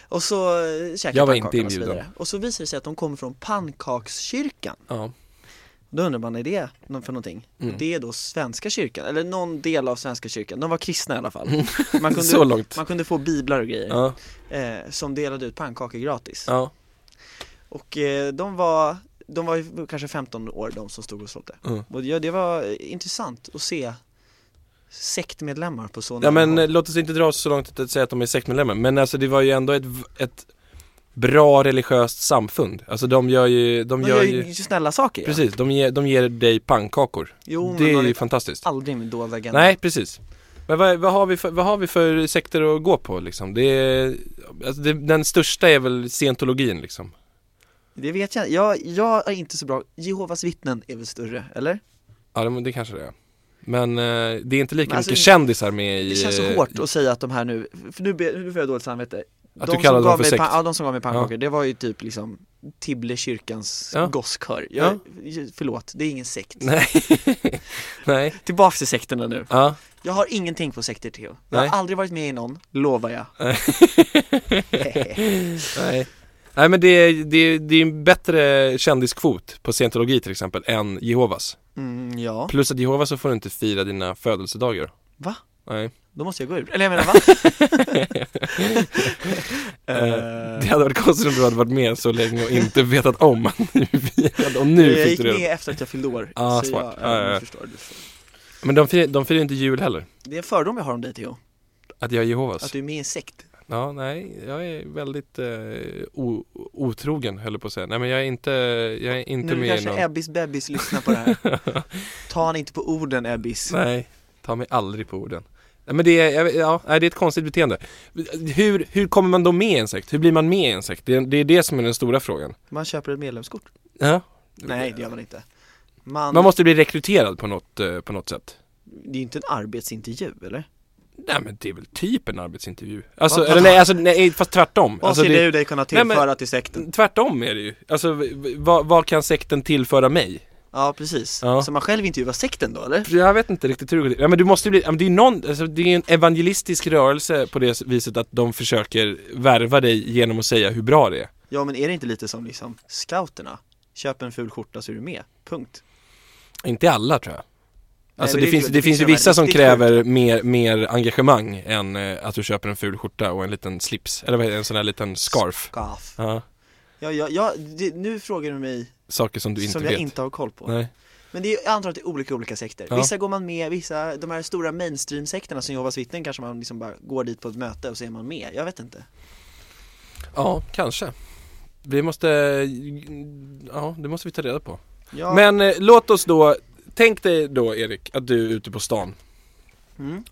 B: Och så eh, käkade
A: Jag var
B: pannkakorna
A: inte
B: och så
A: inbjuden.
B: vidare. Och så visar det sig att de kommer från pannkakskyrkan.
A: Ja,
B: Då undrar man, är det någon- för någonting?
A: Mm.
B: Och Det är då Svenska kyrkan, eller någon del av Svenska kyrkan. De var kristna i alla fall. Man kunde,
A: Så långt.
B: Man kunde få biblar och grejer.
A: ja,
B: Eh, som delade ut pannkakor gratis.
A: ja,
B: Och eh, de var de var ju kanske 15 år de som stod och sålde.
A: Mm.
B: Och ja, det var eh, intressant att se sektmedlemmar på sådana
A: ja men eh, låt oss inte dra oss så långt att säga att de är sektmedlemmar Men alltså det var ju ändå ett, v- ett bra religiöst samfund Alltså de gör ju, de,
B: de
A: gör,
B: gör
A: ju,
B: ju snälla saker ja.
A: Precis, de ger, de ger dig pannkakor
B: Jo, men
A: Det är
B: man
A: ju
B: vet
A: fantastiskt
B: aldrig med dold agenda
A: Nej, precis Men vad, vad, har vi för, vad har vi för sekter att gå på liksom? Det är, alltså det, den största är väl scientologin liksom
B: Det vet jag inte. jag, jag är inte så bra, Jehovas vittnen är väl större, eller?
A: Ja det, men det kanske det är Men eh, det är inte lika
B: Men alltså,
A: mycket kändisar med i
B: Det känns så
A: eh,
B: hårt att säga att de här nu, för nu, be- nu får jag dåligt samvete
A: Att du kallar
B: som
A: dem
B: gav
A: för
B: mig
A: sekt.
B: pan- Ja, de som gav mig pannkakor, det var ju typ liksom Tibble kyrkans
A: Ja.
B: gosskör jag, Förlåt, det är ingen sekt
A: Nej Nej,
B: Tillbaks till sekterna nu
A: ja
B: Jag har ingenting på sekter Theo Jag
A: Nej.
B: har aldrig varit med i någon, lovar jag
A: Nej Nej men det är, det är, det är en bättre kändiskvot på scientologi till exempel än Jehovas
B: mm, Ja,
A: Plus att Jehovas så får du inte fira dina födelsedagar
B: va?
A: Nej
B: Då måste jag gå ur, eller jag menar va?
A: Eh, Det hade varit konstigt om du hade varit med så länge och inte vetat om att nu firade och nu
B: Eh, jag
A: fick
B: gick
A: du det
B: med efter att jag fyllde år
A: Ja,
B: så
A: Ah, smart.
B: jag,
A: Ja,
B: ja,
A: ja, ja.
B: jag förstår, du förstår.
A: Men de firar, de firar ju inte jul heller
B: Det är en fördom jag har om dig Theo,
A: Att jag är Jehovas
B: att du är med i en sekt
A: Ja, nej, jag är väldigt eh, o- otrogen höll jag på att säga. Nej men jag är inte, jag är inte
B: Nu
A: med i
B: kanske
A: någon...
B: Ebbis bebis lyssnar på det här Ta han inte på orden Ebbis
A: Nej, ta mig aldrig på orden. Nej men det är, jag vet- ja, nej, det är ett konstigt beteende. Hur, hur kommer man då med i en sekt? Hur blir man med i en sekt? Det är, det är det som är den stora frågan.
B: Man köper ett medlemskort
A: Ja.
B: Nej det gör man inte man,
A: Man måste bli rekryterad på något, eh, på något sätt.
B: Det är ju inte en arbetsintervju eller?
A: Nej men det är väl typ en arbetsintervju. Alltså, eller nej, alltså, nej, fast tvärtom.
B: Vad
A: alltså,
B: ser
A: det-
B: du dig kunna
A: Nej,
B: tillföra
A: men-
B: till sekten?
A: Tvärtom är det ju. Alltså v- v- vad, vad kan sekten tillföra mig?
B: Ja precis,
A: Ja.
B: så man själv intervjuar sekten då eller?
A: Jag vet inte riktigt hur det går till. Ja, men du måste ju bli, ja, men det är ju någon, alltså, det är en evangelistisk rörelse på det viset att de försöker värva dig genom att säga hur bra det är.
B: Ja men är det inte lite som liksom scouterna? Köp en ful skjorta så är du med, punkt
A: Inte alla tror jag. Alltså
B: men
A: det,
B: det är
A: finns,
B: ju-
A: det,
B: det
A: finns
B: finns
A: ju
B: de här
A: vissa som
B: riktigt
A: kräver mer, mer engagemang än eh, att du köper en ful skjorta och en liten slips, eller vad heter det, en sån här liten scarf.
B: Gaff
A: Ja,
B: Ja, ja, ja det, nu frågar du mig
A: saker som du inte
B: som
A: vet.
B: jag inte har koll på
A: Nej.
B: Men det är, jag antar att det är olika olika sekter.
A: Ja.
B: Vissa går man med, vissa, de här stora mainstream-sekterna som Jehovas vittnen kanske man liksom bara går dit på ett möte och så är man med. Jag vet inte.
A: Ja, kanske. Vi måste, ja det måste vi ta reda på.
B: Ja,
A: Men eh, låt oss då, tänk dig då Erik att du är ute på stan.
B: Mm.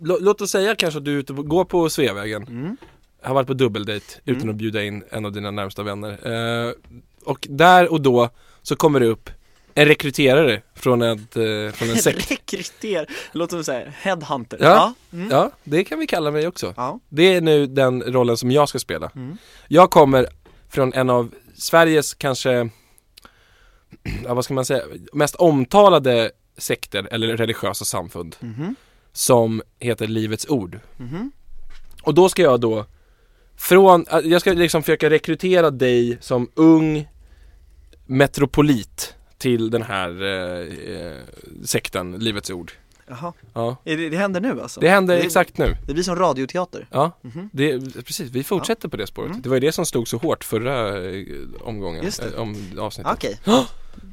A: Lå- Låt oss säga kanske att du är ute på, går på Sveavägen,
B: Mm.
A: har varit på dubbeldejt utan att bjuda in en av dina närmsta vänner. Eh, och där och då så kommer det upp en rekryterare från, ett, eh, från en sekt.
B: Rekryter, låt som säga headhunter.
A: Ja.
B: Ja. Mm.
A: Ja, det kan vi kalla mig också.
B: ja.
A: Det är nu den rollen som jag ska spela.
B: Mm.
A: Jag kommer från en av Sveriges kanske, ja, vad ska man säga, mest omtalade sekter eller religiösa samfund
B: Mhm.
A: som heter Livets Ord.
B: Mhm.
A: Och då ska jag då, från, äh, jag ska liksom försöka rekrytera dig som ung metropolit till den här eh, eh, sekten, Livets Ord.
B: Jaha.
A: Ja.
B: Är Det, det händer nu alltså?
A: Det händer exakt nu.
B: Det blir som radioteater.
A: Ja,
B: Mhm.
A: det, precis. Vi fortsätter på det spåret. Det var ju det som slog så hårt förra eh, omgången,
B: Mm. Just det.
A: eh, om avsnittet.
B: Okej.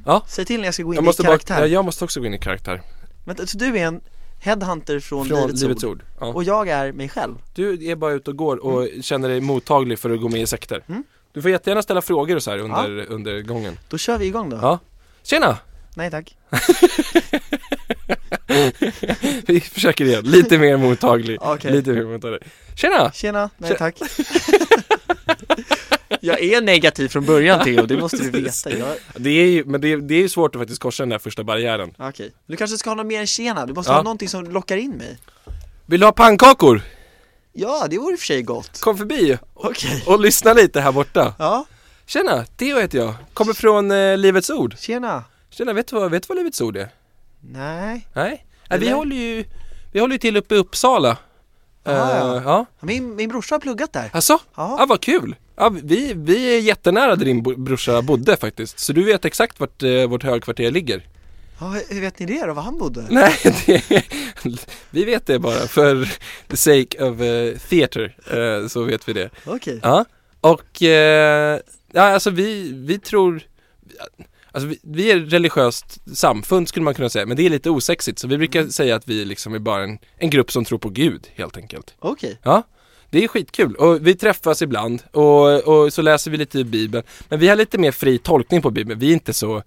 A: Ja.
B: Säg till när jag ska gå in
A: Jag måste,
B: i
A: bara,
B: karaktär.
A: ja, jag måste också gå in i karaktär.
B: Vänta, så du är en headhunter från,
A: Från
B: Livets, ord.
A: Ja.
B: Och Mm. jag är mig själv.
A: Du är bara ute och går och känner dig mottaglig för att gå med i sekter.
B: Mm.
A: Du får jättegärna ställa frågor och så här under, under gången.
B: Då kör vi igång då.
A: Ja. Tjena!
B: Nej tack.
A: Vi försöker igen, lite mer mottaglig.
B: Okej.
A: Lite mer mottaglig. Tjena!
B: Tjena, nej tack. jag är negativ från början Theo, det måste du veta. Jag,
A: Det är ju, men det är, det är ju svårt att faktiskt korsa den där första barriären.
B: Okej, du kanske ska ha något mer än tjena, du måste
A: Ja.
B: ha någonting som lockar in mig
A: Vill du ha pannkakor?
B: Ja, det vore i och för sig gott
A: Kom förbi
B: Okej
A: och lyssna lite här borta.
B: Ja,
A: Tjena, Theo heter jag. Kommer från eh, Livets Ord.
B: tjena
A: Tjena, vet du vad, vet du vad Livets Ord är?
B: Nej,
A: Nej? Nej vi
B: Eller?
A: håller ju, vi håller ju till uppe i Uppsala. Eh,
B: ja.
A: ja.
B: min, min brorsa har pluggat där
A: Alltså? Ja.
B: Ja.
A: Ah, vad kul! Ja, vi, vi är jättenära där din bo- brorsa bodde faktiskt, så du vet exakt vart eh, vårt högkvarter ligger.
B: ja, hur- Hur vet ni det då, var han bodde?
A: Nej, det, vi vet det bara för the sake of eh, theater, eh, så vet vi det.
B: Okej,
A: Ja, och eh, ja, alltså vi, vi tror Alltså vi, vi är ett religiöst samfund skulle man kunna säga, men det är lite osexigt så vi brukar säga att vi liksom är bara en, en grupp som tror på Gud helt enkelt.
B: okej
A: Ja, det är skitkul och vi träffas ibland och, och så läser vi lite i Bibeln. Men vi har lite mer fri tolkning på Bibeln, vi är inte så,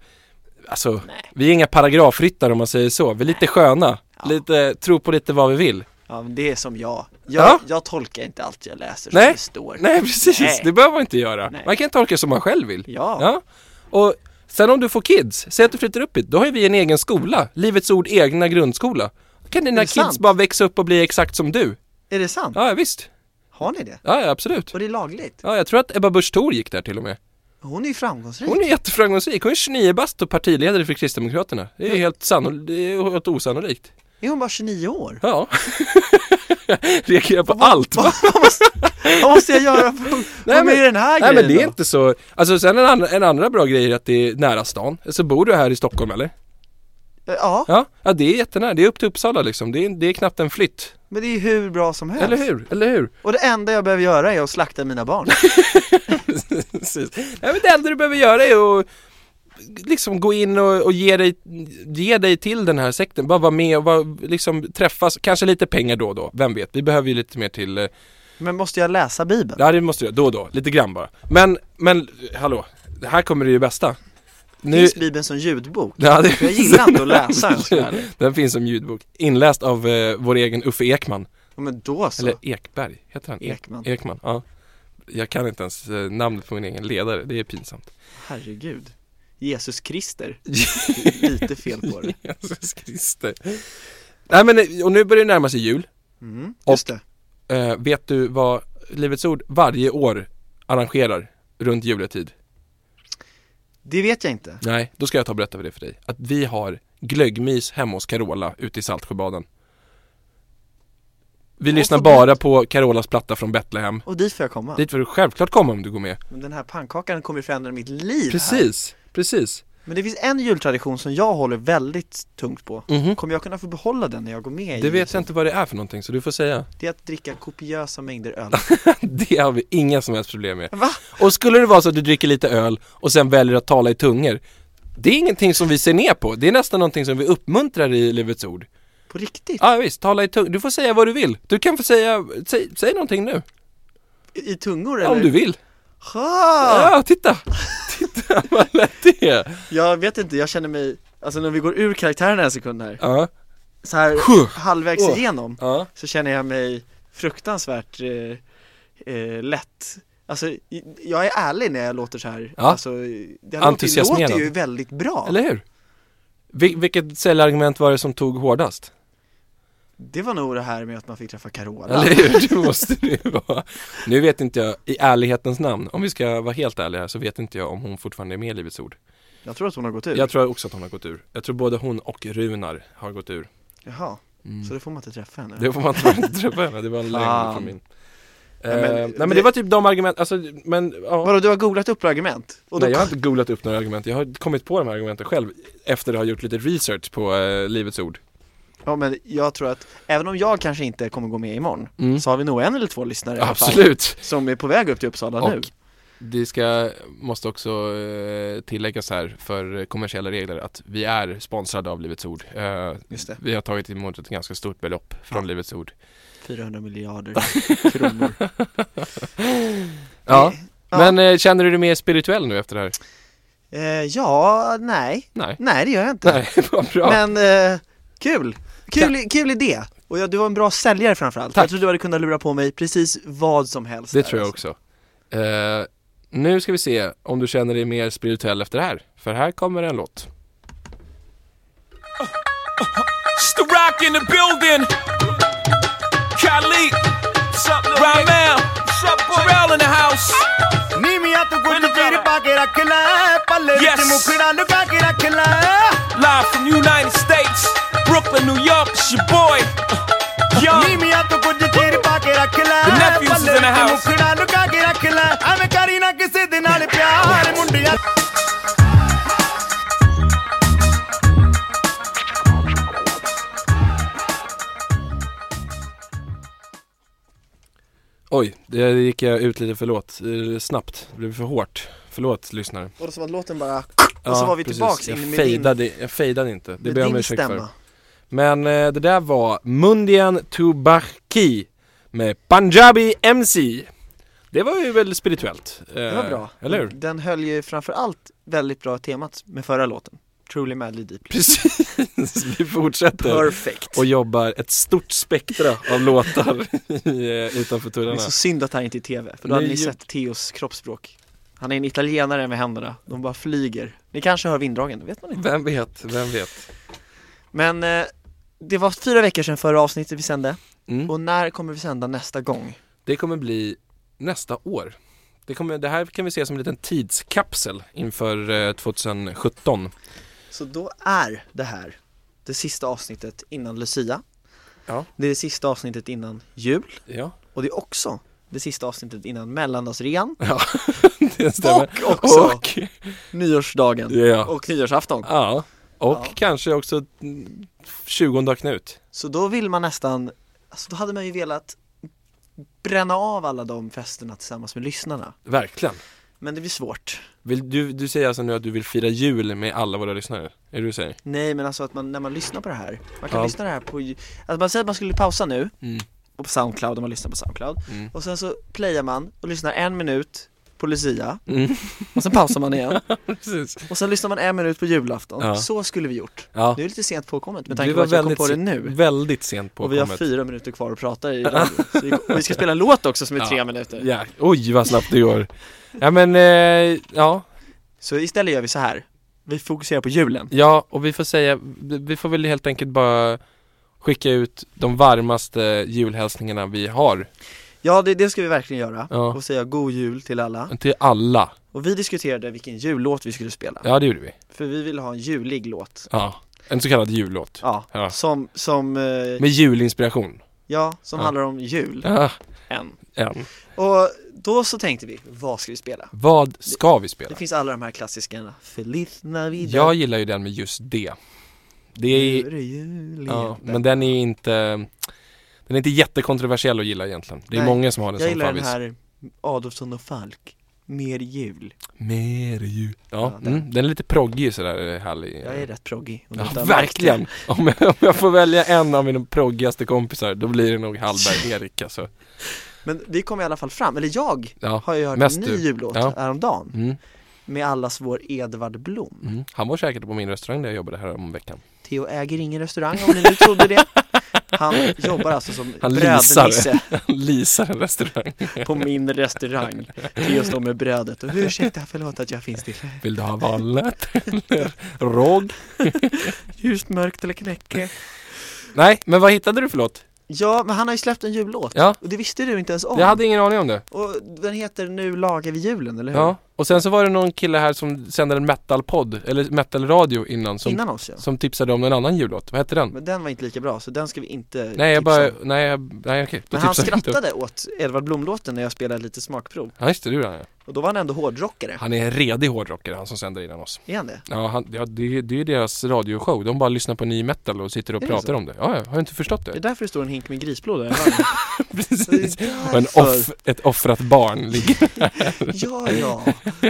A: alltså vi är inga paragrafryttare om man säger så, vi är lite sköna, lite, tro på lite vad vi vill.
B: Ja, men det är som jag. Jag,
A: Ja.
B: jag tolkar inte allt jag läser som
A: Nej.
B: det står.
A: Nej precis,
B: Nej.
A: det behöver man inte göra.
B: Nej.
A: Man kan tolka som man själv vill.
B: Ja.
A: Och sen om du får kids, säg att du flyttar upp hit, då har ju vi en egen skola. Livets Ord egna grundskola. Då kan dina
B: det
A: kids
B: sant?
A: bara växa upp och bli exakt som du.
B: Är det sant?
A: Ja, ja, visst.
B: Har ni det?
A: Ja, ja absolut.
B: Och det är lagligt?
A: Ja, jag tror att Ebba Busch Thor gick där till och med.
B: Hon är ju framgångsrik.
A: Hon är jätteframgångsrik. Hon är 29 bast och partiledare för Kristdemokraterna. Det är ju helt, sanno- det är ju helt osannolikt.
B: Är hon bara 29 år?
A: Ja. Reagerar på allt. va?
B: vad, måste, vad måste jag göra för att
A: Nej,
B: vara med i den här
A: nej,
B: grejen
A: men det är
B: då?
A: inte så. Alltså sen en, ann- en andra bra grej är att det är nära stan. Så bor du här i Stockholm eller?
B: Eh, Ja,
A: Ja, ja det är jättenära. Det är upp till Uppsala liksom. Det är, det är knappt en flytt.
B: men det är ju hur bra som helst.
A: Eller hur? Eller hur?
B: Och det enda jag behöver göra är att slakta mina barn.
A: Precis. Nej, men det enda du behöver göra är att liksom gå in och, och ge, dig, ge dig till den här sekten. Bara vara med och bara, liksom träffas. Kanske lite pengar då och då. Vem vet? Vi behöver ju lite mer till eh,
B: Men måste jag läsa Bibeln?
A: Ja det måste du göra, då och då, lite grann bara. Men, men hallå, det här kommer det ju bästa. Nu,
B: Finns Bibeln som ljudbok?
A: ja, det,
B: Jag gillar inte att läsa jag ska vara ärlig.
A: den finns som ljudbok, inläst av eh, vår egen Uffe Ekman.
B: Ja, men då så.
A: Eller Ekberg, heter han? Ek-
B: Ekman.
A: Ekman, ja. Jag kan inte ens eh, namnet på min egen ledare, det är pinsamt.
B: Herregud. Jesus Krister. Lite fel på det.
A: Jesus Christer. Nej men, eh, och nu börjar det närma sig jul.
B: Just det.
A: Eh, vet du vad Livets Ord varje år arrangerar runt juletid?
B: Det vet jag inte.
A: Nej, då ska jag ta och berätta för det för dig. Att vi har glöggmys hemma hos Carola ute i Saltsjöbaden. Vi lyssnar
B: så
A: bara på Carolas platta från Betlehem.
B: Och dit får jag komma.
A: Dit får du självklart komma om du går med.
B: Men den här pannkakan kommer ju förändra mitt liv Här.
A: Precis, precis.
B: Men det finns en jultradition som jag håller väldigt tungt på. Kommer jag kunna få behålla den när jag går med i
A: Mhm. Det vet
B: Jesus?
A: jag inte vad det är för någonting så du får säga.
B: Det är att dricka kopiösa mängder öl.
A: Det har vi inga som helst problem med.
B: Va?
A: Och skulle det vara så att du dricker lite öl och sen väljer att tala i tungor. Det är ingenting som vi ser ner på. Det är nästan någonting som vi uppmuntrar i Livets Ord.
B: På riktigt?
A: Ja visst, tala i tungor. Du får säga vad du vill. Du kan få säga, säg, säg någonting nu.
B: I tungor eller?
A: Om du vill.
B: Ha!
A: Ja, titta! Titta vad lätt det är!
B: Jag vet inte, jag känner mig, alltså när vi går ur karaktären en sekund här,
A: Ja,
B: så här halvvägs
A: Åh.
B: igenom,
A: ja,
B: så känner jag mig fruktansvärt eh, eh, lätt. Alltså, i- jag är ärlig när jag låter så här.
A: Ja.
B: Alltså, det här låter,
A: Entusiasmerad.
B: låter ju väldigt bra.
A: eller hur? Vil- vilket säljargument var det som tog hårdast?
B: Det var nog det här med att man fick träffa Carola.
A: Eller hur? Det måste det ju vara. Nu vet inte jag, i ärlighetens namn, om vi ska vara helt ärliga här, så vet inte jag om hon fortfarande är med i Livets Ord.
B: Jag tror att hon har gått ut.
A: Jag tror också att hon har gått ur. Jag tror både hon och Runar har gått ur.
B: Jaha, så då får man inte träffa henne.
A: Mm. Det får man tyvärr inte träffa henne, det var en lögn
B: Fan.
A: från min. Eh,
B: men
A: nej men
B: det-
A: det var typ de argument, alltså men ja.
B: Vadå, du har googlat upp argument? Och då,
A: Nej jag har inte googlat upp några argument, jag har kommit på de här argumenten själv efter att ha gjort lite research på eh, Livets Ord.
B: Ja men jag tror att, även om jag kanske inte kommer gå med imorgon, så har vi nog en eller två lyssnare i alla fall,
A: Mm. Absolut!
B: som är på väg upp till Uppsala nu.
A: Och det ska, måste också eh, tilläggas här för kommersiella regler att vi är sponsrade av Livets Ord. Eh,
B: Just det.
A: Vi har tagit emot ett ganska stort belopp från Livets Ord.
B: 400 miljarder kronor.
A: Ja.
B: Ja.
A: Men eh, känner du dig mer spirituell nu efter det här?
B: Eh, ja, nej.
A: Nej.
B: Nej det gör jag inte.
A: Nej, vad bra.
B: Men eh, kul! Kul, kul idé! Och ja, du var en bra säljare framförallt.
A: Tack.
B: Jag tror du hade kunnat lura på mig precis vad som helst.
A: det
B: där,
A: tror jag
B: alltså.
A: också. Eh, nu ska vi se om du känner dig mer spirituell efter det här. För här kommer en låt.
E: It's the rock in the building. Khalid. What's up, Ramel. What's up, Pharrell in the house. Yes. Live from United States, Brooklyn, New York, it's your boy. uh, Young. The nephews is in the house.
A: Oj, det gick jag ut lite för låt, eh, snabbt. Det blev för hårt. Förlåt lyssnare.
B: Och det som att låten bara...
A: Ja,
B: och så var vi
A: precis.
B: tillbaks
A: jag
B: in med din,
A: fejdade, Jag fejdade inte, det
B: med
A: ber jag om
B: din
A: ursäkt för
B: stämma.
A: Men eh, det där var Mundian Tubaki med Punjabi MC Det var ju väldigt spirituellt eh,
B: Det var bra.
A: Eller hur?
B: Den höll ju framförallt väldigt bra temat med förra låten. Truly Madly Deeply.
A: Precis, vi fortsätter
B: Perfect.
A: och jobbar ett stort spektra av låtar i, eh, utanför
B: Det är
A: tullarna.
B: så synd att det här inte är tv, för då hade
A: Nej,
B: ni
A: ju-
B: sett Theos kroppsspråk. Han är en italienare med händerna, de bara flyger. Ni kanske hör vinddragen, det vet man inte.
A: Vem vet, vem vet.
B: Men eh, det var fyra veckor sedan förra avsnittet vi sände,
A: Mm.
B: och när kommer vi sända nästa gång?
A: Det kommer bli nästa år. Det, kommer, det här kan vi se som en liten tidskapsel inför eh, 2017.
B: Så då är det här det sista avsnittet innan Lucia.
A: Ja.
B: Det är det sista avsnittet innan jul,
A: Ja,
B: och det är också det sista avsnittet innan mellandagsrean,
A: ja det stämmer.
B: och också
A: och
B: nyårsdagen
A: Ja.
B: och nyårsafton.
A: Ja, och
B: Ja.
A: kanske också mm, 20 dag Knut.
B: Så då vill man nästan, alltså då hade man ju velat bränna av alla de festerna tillsammans med lyssnarna.
A: Verkligen.
B: Men det blir svårt.
A: Vill du, du säger alltså nu att du vill fira jul med alla våra lyssnare? Är det du säger?
B: Nej men alltså att man, när man lyssnar på det här, man kan
A: Ja.
B: lyssna det här på, alltså man säger att man skulle pausa nu,
A: Mm.
B: och på Soundcloud, om man lyssnar på Soundcloud,
A: Mm.
B: och sen så playar man och lyssnar en minut på Lucia,
A: Mm.
B: och sen pausar man igen,
A: Precis.
B: och sen lyssnar man en minut på julafton.
A: Ja.
B: Så skulle vi gjort.
A: Ja.
B: Det är lite sent påkommet
A: Du
B: med tanke på
A: var
B: att jag kom
A: väldigt
B: på det
A: se-
B: nu.
A: Väldigt sent på
B: Och vi har
A: kommet.
B: fyra minuter kvar att prata i radio. Så vi, och vi ska spela en låt också som är
A: Ja.
B: tre minuter.
A: Ja, oj vad snabbt det går. Ja men, eh, ja,
B: Så istället gör vi så här. Vi fokuserar på julen.
A: ja och vi får säga, vi vi får väl helt enkelt bara skicka ut de varmaste julhälsningarna vi har
B: Ja, det, det ska vi verkligen göra.
A: Ja.
B: Och säga god jul till alla.
A: till alla.
B: Och vi diskuterade vilken jullåt vi skulle spela.
A: Ja det gjorde vi.
B: För vi ville ha en julig låt.
A: Ja, en så kallad jullåt.
B: Ja,
A: Ja.
B: som, som, eh,
A: Med julinspiration.
B: ja, som
A: Ja.
B: handlar om jul.
A: Ja,
B: Än.
A: ja.
B: Och då så tänkte vi, vad ska vi spela?
A: Vad ska vi
B: Det
A: spela?
B: finns alla de här klassiska Feliz Navidad.
A: Jag gillar ju den med just det. Det
B: Nu
A: är,
B: är det jul
A: ja,
B: igen.
A: men den är inte, den är inte jättekontroversiell att gilla egentligen. Det är
B: Nej,
A: många som har den
B: Jag
A: som
B: gillar den
A: favvis.
B: här Adolfsson och Falk. Mer jul.
A: Mer ju. Ja,
B: Ja, den.
A: den. Mm, den är lite proggig sådär härlig.
B: Jag är rätt proggig. om du inte
A: Ja,
B: har märkt det.
A: verkligen! Om jag, om jag får välja en av mina proggigaste kompisar, då blir det nog Hallberg-Erik alltså.
B: Men vi kom i alla fall fram, eller jag
A: Ja,
B: har ju hört
A: mest
B: en ny
A: du.
B: jullåt
A: Ja.
B: häromdagen
A: Mm,
B: med allas vår Edvard Blom.
A: mm. Han var säkert på min restaurang där jag jobbade här om veckan.
B: Theo äger ingen restaurang om ni nu trodde det. Han jobbar alltså som
A: Han
B: brödnisse
A: Han leasar en restaurang.
B: på min restaurang. Theo står med brödet och ursäkta förlåt att jag finns till.
A: Vill du ha valnöt eller råg?
B: Ljust, mörkt eller knäcke.
A: Nej, men vad hittade du för låt?
B: Ja, men han har ju släppt en jullåt.
A: Ja.
B: Och det visste du inte ens om.
A: Jag hade ingen aning om det.
B: Och den heter Nu lagar vi julen, eller hur?
A: Ja, och sen så var det någon kille här som sände en metalpodd, eller metalradio innan, som,
B: Innan oss ja.
A: som tipsade om en annan jullåt. Vad hette den?
B: Men den var inte lika bra, så den ska vi inte
A: Nej, jag
B: tipsa
A: bara,
B: om.
A: nej, jag, nej okej. då
B: Men han
A: tipsar vi inte.
B: skrattade åt Edvard Blom-låten när jag spelade lite smakprov.
A: Ja, just det, du ja.
B: Och då var han ändå hårdrockare.
A: Han är en redig hårdrockare, han som sänder innan oss.
B: Är han det?
A: Ja, han, ja det, det är ju deras radioshow. De bara lyssnar på ny metal och sitter och
B: Är det
A: pratar
B: så?
A: om det. Ja, ja, har du inte förstått
B: Det är
A: det?
B: därför det står en hink med grisblod där.
A: Precis.
B: Det är
A: Och en
B: därför.
A: off, ett offrat barn ligger.
B: Ja, ja.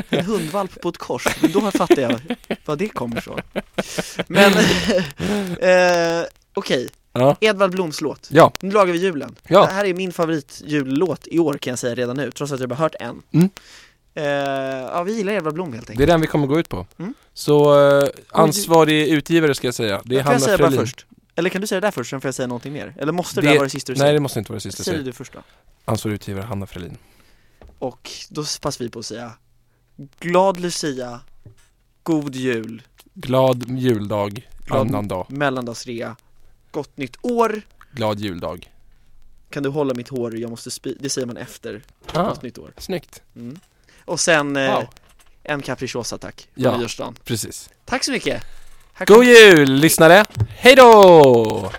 B: En hundvalp på ett kors. Men då fattar jag vad det kommer ifrån. Men, eh, okej.
A: Ja.
B: Edvard Bloms låt.
A: Ja,
B: Nu lagar vi julen.
A: Ja.
B: Det här är min favoritjullåt i år kan jag säga redan nu, trots att jag bara hört en.
A: Mm.
B: Eh, ja, vi gillar Edvard Blom helt enkelt.
A: det är den vi kommer gå ut på.
B: Mm.
A: Så eh, ansvarig utgivare ska jag säga. Det är
B: kan
A: Hanna
B: jag säga bara
A: Frölin.
B: först? Eller kan du säga det där först, sen får jag säga någonting mer? Eller måste det,
A: Det-
B: där vara det sista du
A: Nej,
B: säger?
A: det måste inte vara det sista jag
B: Säg det
A: säger.
B: du först då.
A: Ansvarig utgivare Hanna Frölin.
B: Och då passar vi på att säga Glad Lucia God jul
A: Glad juldag,
B: Glad-
A: annan dag.
B: Mellandagsrea Gott nytt år
A: Glad juldag.
B: Kan du hålla mitt hår, jag måste spy Det säger man efter
A: Ah,
B: Gott nytt år
A: snyggt.
B: Och sen eh,
A: Wow,
B: en capricciosa tack på
A: Ja.
B: nyårsdagen
A: precis.
B: Tack så mycket! Här
A: God
B: kom-
A: jul lyssnare! Hej då!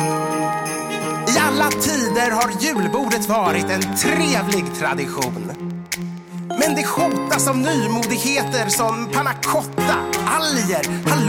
H: I alla tider har julbordet varit en trevlig tradition. Men det hotas av nymodigheter som panna cotta, alger, hallon